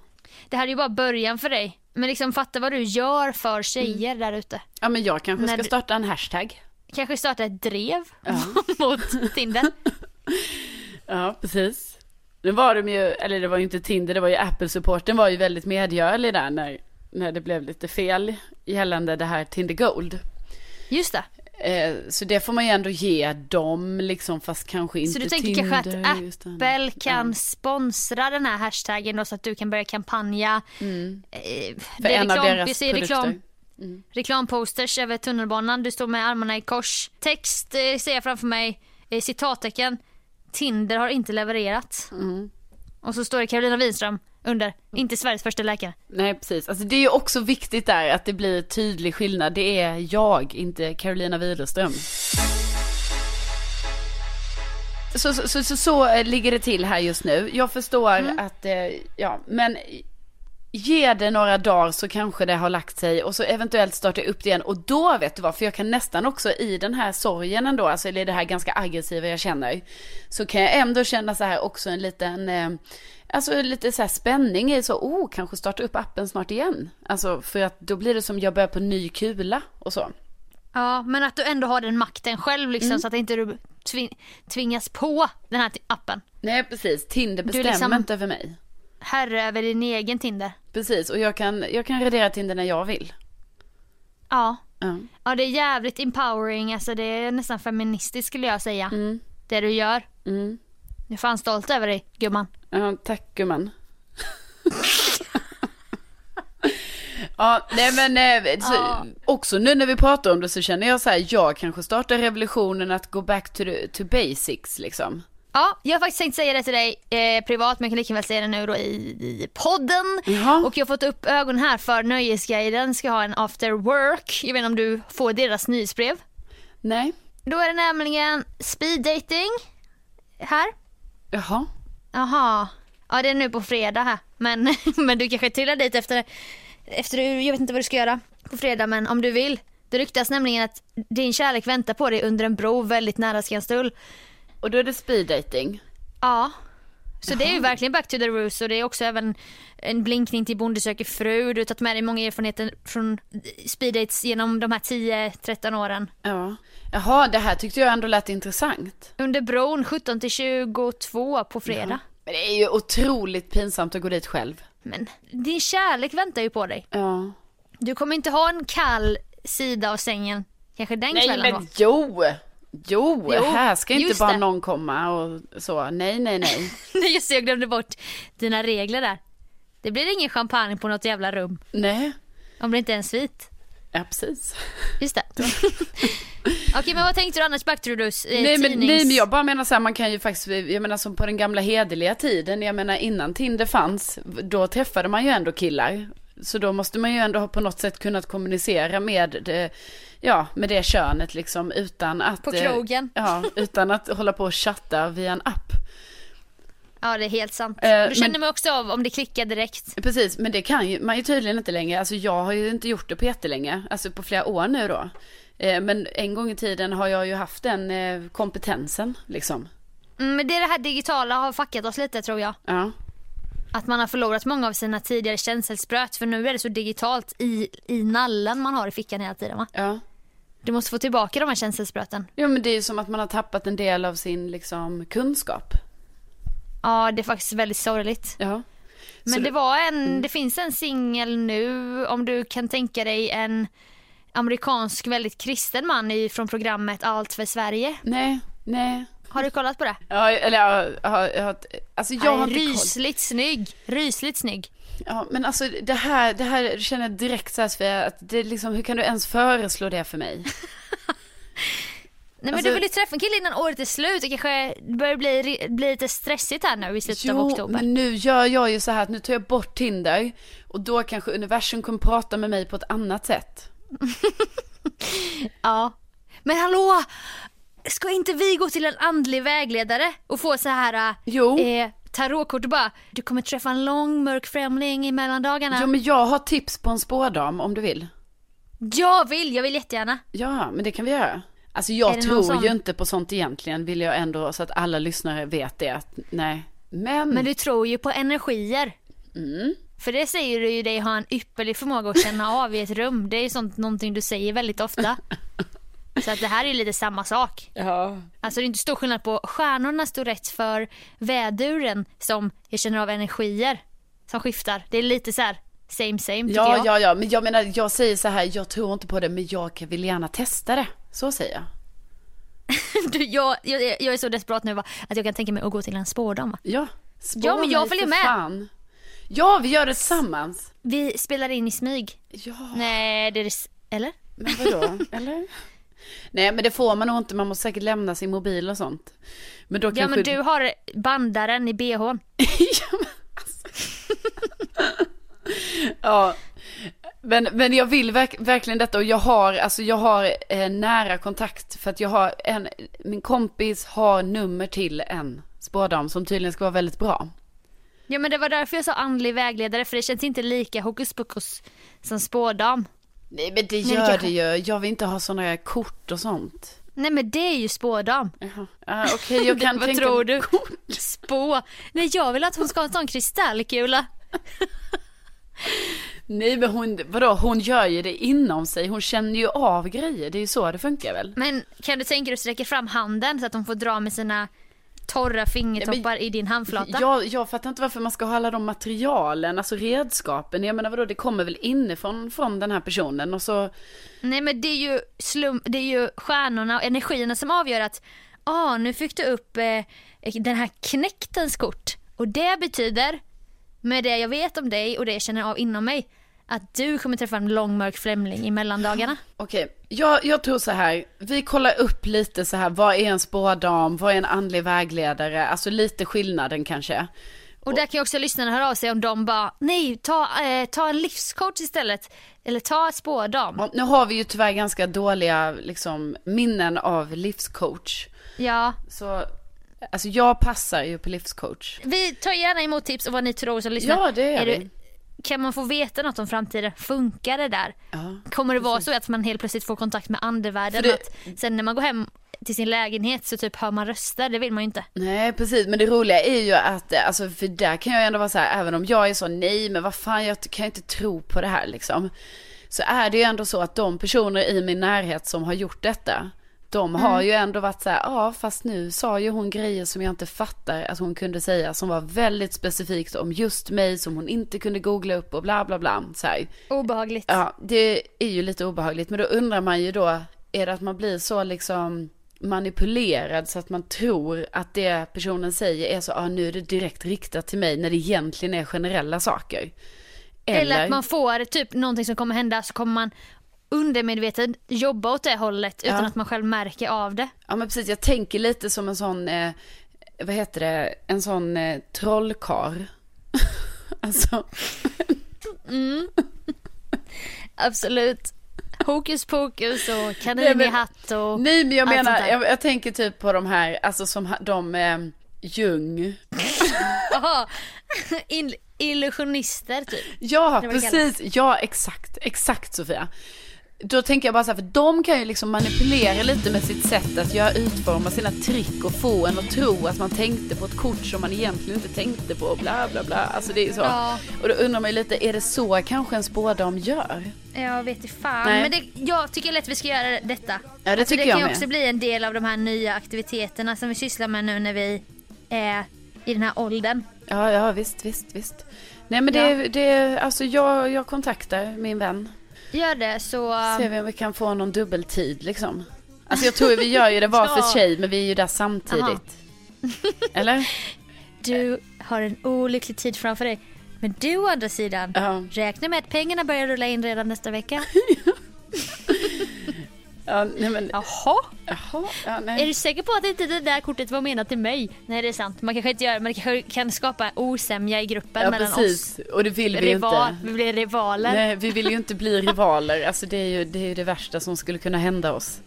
Det här är ju bara början för dig. Men liksom fatta vad du gör för tjejer
Mm.
där ute.
Ja men jag kanske
När
ska
du-
starta en hashtag.
Kanske starta ett drev
Ja.
mot Tinder.
Ja, precis. Nu var de ju, eller det var ju inte Tinder, det var ju Apple-supporten var ju väldigt medgörlig där när, när det blev lite fel gällande det här Tinder Gold.
Just det.
Eh, så det får man ju ändå ge dem liksom, fast kanske inte
Så du tänker
Tinder.
kanske att
utan-
Apple kan sponsra den här hashtaggen då så att du kan börja kampanja. Eh,
Mm. För
det är
en av
reklam-
deras
jag ser
produkter. Mm.
reklam- reklamposters över tunnelbanan. Du står med armarna i kors. Text eh, ser jag framför mig. Eh, citattecken. Tinder har inte levererat.
Mm.
Och så står det Carolina Winström under. Inte Sveriges första läkare.
Nej, precis. Alltså, det är ju också viktigt där att det blir tydlig skillnad. Det är jag, inte Carolina Widerström. Så, så, så, så, så eh, ligger det till här just nu. Jag förstår att, eh, ja, men ge det några dagar så kanske det har lagt sig och så eventuellt starta upp det igen. Och då vet du vad, för jag kan nästan också i den här sorgen ändå, alltså eller det här ganska aggressiva jag känner, så kan jag ändå känna så här också en liten, eh, alltså lite så här spänning i så, oh, kanske starta upp appen snart igen. Alltså för att då blir det som jag börjar på ny kula och så.
Ja, men att du ändå har den makten själv liksom
Mm.
så att inte du tving- tvingas på den här t- appen.
Nej precis, Tinder
Du
bestämmer
liksom-
inte över mig.
Herre över din egen Tinder.
Precis, och jag kan, jag kan radera Tinder när jag vill.
Ja.
Ja.
Ja, det är jävligt empowering. Alltså det är nästan feministiskt skulle jag säga. Det du gör.
Mm.
Jag är fan stolt över dig, gumman.
Ja, tack gumman. Ja, nej men eh, så, också nu när vi pratar om det så känner jag så här, jag kanske startar revolutionen att gå back to, the, to basics liksom.
Ja, jag har faktiskt tänkt säga det till dig eh, privat men jag kan lika väl säga det nu då i, i podden.
Jaha.
Och jag har fått upp ögonen här för Nöjesguiden ska ha en after work. Jag vet inte om du får deras nyhetsbrev.
Nej,
Då är det nämligen speed dating här.
jaha.
Jaha. Ja det är nu på fredag här. Men, men du kanske trillar dit efter, efter, jag vet inte vad du ska göra på fredag men om du vill. Det ryktas nämligen att din kärlek väntar på dig under en bro väldigt nära Skanstull.
Och då är det speed dating.
Ja. Så det är ju verkligen back to the roots och det är också även en blinkning till Bonde söker fru. Du har tagit med dig många erfarenheter från speeddates genom de här 10-13 åren.
Ja. Jaha, det här tyckte jag ändå lät intressant.
Under bron 17 till 22 på fredag.
Men det är ju otroligt pinsamt att gå dit själv.
Men din kärlek väntar ju på dig.
Ja.
Du kommer inte ha en kall sida av sängen kanske den
Nej
kvällen
men
då.
jo! Jo,
Jo,
här ska inte
just
bara
det.
någon komma och så. Nej, nej, nej.
Nej just det, jag glömde bort dina regler där. Det blir ingen champagne på något jävla rum.
nej,
Om det inte är en svit.
ja precis.
Just det. Okej men vad tänkte du annars back to the roots? Eh,
Nej men,
tidnings-
nej men jag bara menar så här, man kan ju faktiskt, jag menar som på den gamla hederliga tiden, jag menar innan Tinder fanns, då träffade man ju ändå killar. Så då måste man ju ändå ha på något sätt kunnat kommunicera med det, ja, med det könet liksom utan att...
På
eh,
krogen.
Ja, utan att hålla på och chatta via en app.
Ja det är helt sant.
Eh,
Då känner
men-
man också av om det klickar direkt.
Precis, men det kan ju, man ju tydligen inte längre. Alltså jag har ju inte gjort det på jättelänge, alltså på flera år nu då. Eh, Men en gång i tiden har jag ju haft den eh, kompetensen liksom.
Mm, Men det är det här digitala har fuckat oss lite tror jag.
Ja,
Att man har förlorat många av sina tidigare känselspröt för nu är det så digitalt i, i nallen man har i fickan hela tiden va?
ja.
Du måste få tillbaka de här känselspröten.
Jo men det är ju som att man har tappat en del av sin liksom kunskap.
Ja det är faktiskt väldigt sorgligt.
Ja.
Men det Mm. var en, det finns en singel nu om du kan tänka dig en amerikansk väldigt kristen man i, från programmet Allt för Sverige.
Nej, nej.
Har du kollat på det?
Ja, eller jag har, jag har, alltså jag
Han
har
är
inte koll.
rysligt snygg. Rysligt snygg.
Ja, men alltså det här, det här känner jag direkt så här Sofia, att det är liksom, hur kan du ens föreslå det för mig?
Nej men
Alltså-
du vill ju träffa en kille innan året är slut. Det kanske börjar bli, bli lite stressigt här nu i slutet av
Jo,
oktober.
men nu gör jag ju så här att nu tar jag bort Tinder och då kanske universum kommer prata med mig på ett annat sätt.
Ja. Men hallå! Ska inte vi gå till en andlig vägledare och få så här
Jo.
Eh, tarotkort och bara du kommer träffa en lång mörk främling i mellandagarna.
Jo, men jag har tips på en spådam om du vill.
Jag vill, jag vill jättegärna.
Ja, men det kan vi göra. Alltså
Är
jag
det någon
tror ju
sån?
inte på sånt egentligen, vill jag ändå, så att alla lyssnare vet det. Att, nej. Men,
Men du tror ju på energier.
Mm.
För det säger du ju dig ha en ypperlig förmåga att känna av i ett rum. Det är ju sånt någonting du säger väldigt ofta. Så att det här är ju lite samma sak.
ja.
Alltså det är inte stor skillnad på stjärnorna står rätt för väduren som jag känner av energier som skiftar. Det är lite så här same same tycker
Ja,
jag.
ja, ja, men jag menar, jag säger så här, jag tror inte på det, men jag kan- vill gärna testa det. Så säger jag.
Du, jag, jag, jag är så desperat nu va, att jag kan tänka mig att gå till en spårdam. va?
Ja, spå
Ja, men jag
mig
följer
för
med.
Fan. Ja, vi gör det tillsammans.
Vi spelar in i smyg.
Ja,
Nej, det är det... s- Eller?
men vadå, eller? Nej, men det får man nog inte, man måste säkert lämna sin mobil och sånt. Men då
Ja
kanske...
men du har bandaren i bhn.
ja, men alltså. ja. Men, men jag vill verk, verkligen detta och jag har, alltså jag har eh, nära kontakt för att jag har en, min kompis har nummer till en spådam som tydligen ska vara väldigt bra.
Ja men det var därför jag sa andlig vägledare för det känns inte lika hokus pokus som spådam.
Nej men det
det
gör
kanske-
det ju, jag vill inte ha sådana kort och sånt.
Nej men det är ju spådam.
Ah, Okej jag kan
Vad
tänka
tror du? Spå. Nej jag vill att hon ska ha en sån kristallkula.
Nej men hon, vadå, hon gör ju det inom sig, hon känner ju av grejer, det är ju så det funkar väl?
Men kan du tänka dig att sträcka fram handen så att hon får dra med sina torra fingertoppar i din handflata?
Jag, jag fattar inte varför man ska ha alla de materialen, alltså redskapen. Jag menar vadå, det kommer väl inifrån från den här personen och så,
Nej men det är ju, slum, det är ju stjärnorna och energierna som avgör att ah, nu fick du upp eh, den här knäktens kort och det betyder med det jag vet om dig och det jag känner av inom mig att du kommer träffa en lång mörk främling i mellandagarna.
Okej, jag, jag tror så här, vi kollar upp lite så här, vad är en spådam, vad är en andlig vägledare, alltså lite skillnaden kanske.
Och där kan ju också lyssnarna höra av sig om de bara, nej ta, eh, ta en livscoach istället. Eller ta spådam.
Ja, Nu har vi ju tyvärr ganska dåliga liksom, minnen av livscoach.
Ja.
Så, alltså jag passar ju på livscoach.
Vi tar gärna emot tips och vad ni tror som lyssnar.
Ja, det gör
Är du-
vi.
Kan man få veta något om framtiden? Funkar det där? Kommer det vara så att man helt plötsligt får kontakt med andevärlden?
För det-
Att sen när man går hem till sin lägenhet så typ hör man röster, det vill man ju inte.
Nej precis, men det roliga är ju att, eh, alltså för där kan jag ändå vara så här, även om jag är så nej men vad fan jag t- kan inte tro på det här liksom. Så är det ju ändå så att de personer i min närhet som har gjort detta, de har ju ändå varit så här, ja fast nu sa ju hon grejer som jag inte fattar att hon kunde säga som var väldigt specifikt om just mig som hon inte kunde googla upp och bla bla bla. Så här.
Obehagligt.
Ja, det är ju lite obehagligt. Men då undrar man ju då, är det att man blir så liksom manipulerad så att man tror att det personen säger är så, ah, nu är det direkt riktat till mig när det egentligen är generella saker.
Eller... att man får typ någonting som kommer hända så kommer man undermedvetet jobba åt det hållet utan att man själv märker av det.
Ja men precis, jag tänker lite som en sån, eh, vad heter det, en sån eh, trollkar. alltså,
Absolut. Hokus pokus och
Nej,
kanin i
men-
hatt och
nej men jag
allt
menar,
sånt där.
jag, jag tänker typ på de här, alltså som ha- de, eh, Jung.
Jaha. In- illusionister typ.
Ja,
Eller vad det
precis. Ja, exakt. Exakt Sofia. Då tänker jag bara så här, för de kan ju liksom manipulera lite med sitt sätt att göra, utforma sina trick och få en att tro att man tänkte på ett kort som man egentligen inte tänkte på och bla bla bla. Alltså det är ju så.
Ja.
Och då undrar man ju lite, är det så kanske en spådam gör?
Jag vet inte fan.
Nej.
Men det, jag tycker lätt vi ska göra detta.
Ja, det tycker
Alltså, det kan
jag
ju
med.
också bli en del av de här nya aktiviteterna som vi sysslar med nu när vi är i den här åldern.
Ja, ja visst, visst, visst. Nej men det,
Ja.
det alltså jag, jag kontaktar min vän.
Gör det så...
Ser vi om vi kan få någon dubbeltid liksom. Alltså jag tror vi gör ju det var för sig men vi är ju där samtidigt.
Aha.
Eller?
Du har en olycklig tid framför dig. Men du å andra sidan,
Ja.
räkna med att pengarna börjar rulla in redan nästa vecka.
Ja, nej men,
Jaha?
jaha, ja,
Är
nej.
du säker på att inte det där kortet var menat till mig? Nej det är sant, man kanske inte gör man kanske kan skapa osämja i gruppen
Ja,
mellan oss.
precis. Och det vill vi ju
Rival,
inte.
vi blir rivaler,
Nej, vi vill ju inte bli rivaler. Alltså det är ju det, är ju det värsta som skulle kunna hända oss.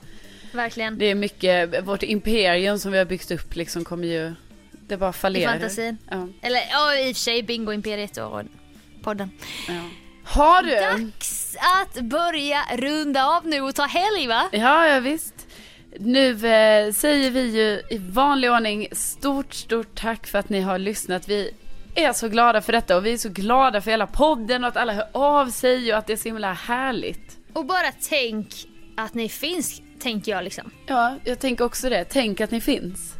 verkligen.
Det är mycket, vårt imperium som vi har byggt upp liksom kommer ju, det bara fallerar.
I fantasin.
Ja,
Eller ja, i och för sig Bingoimperiet och podden.
ja. Har du?
Dags att börja runda av nu och ta helg va?
Ja, ja visst. Nu eh, säger vi ju i vanlig ordning stort, stort tack för att ni har lyssnat. Vi är så glada för detta och vi är så glada för hela podden och att alla hör av sig och att det är så himla härligt.
Och bara tänk att ni finns, tänker jag liksom.
Ja, jag tänker också det. Tänk att ni finns.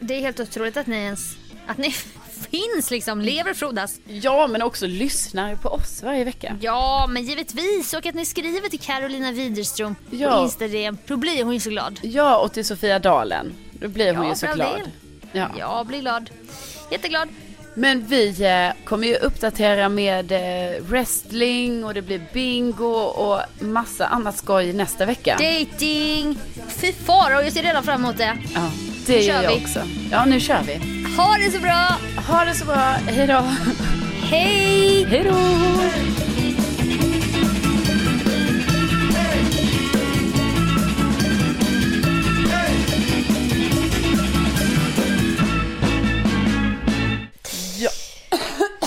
Det är helt otroligt att ni ens, att ni finns liksom, lever och frodas.
Ja, men också lyssnar på oss varje vecka.
Ja, men givetvis. Och att ni skriver till Carolina Widerström på
Ja.
Instagram. Då blir hon ju så glad.
Ja, och till Sofia Dalen. Då blir hon
Ja,
ju så
för all
glad.
del.
Ja.
Jag blir glad. Jätteglad.
Men vi eh, kommer ju uppdatera med eh, wrestling och det blir bingo och massa annat skoj nästa vecka.
Dating. Fy fara, jag ser redan fram emot det.
Ja, det
kör
gör jag
vi.
också. Ja, nu kör vi.
Ha det så bra.
Ha det så bra. Hej då.
Hej!
Hej då.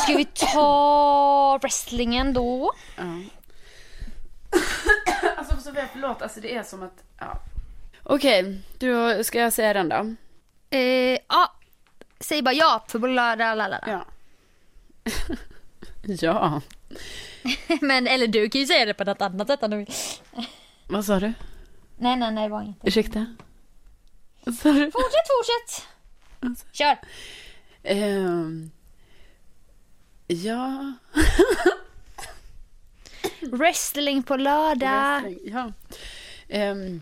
Ska vi ta wrestlingen då?
Alltså Sofia, förlåt. Alltså det är som att... Ja. Okej, du, ska jag säga den då?
Eh, ja. Säg bara ja. För bla, bla, bla, bla.
Ja. ja.
Men, eller du kan ju säga det på något annat sätt om du vill.
Vad sa du?
Nej, nej, nej, det var inget.
Ursäkta? Vad sa du?
Fortsätt, fortsätt. Kör.
Ehm, ja.
Wrestling på lördag.
Wrestling, Ja. Ehm,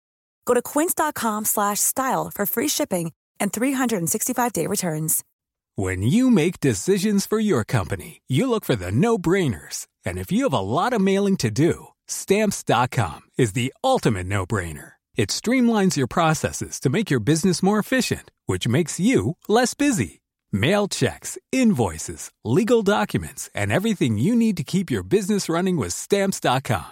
Go to quince.com/style slash style for free shipping and 365-day returns.
When you make decisions for your company, you look for the no-brainers. And if you have a lot of mailing to do, stamps.com is the ultimate no-brainer. It streamlines your processes to make your business more efficient, which makes you less busy. Mail checks, invoices, legal documents, and everything you need to keep your business running with stamps.com.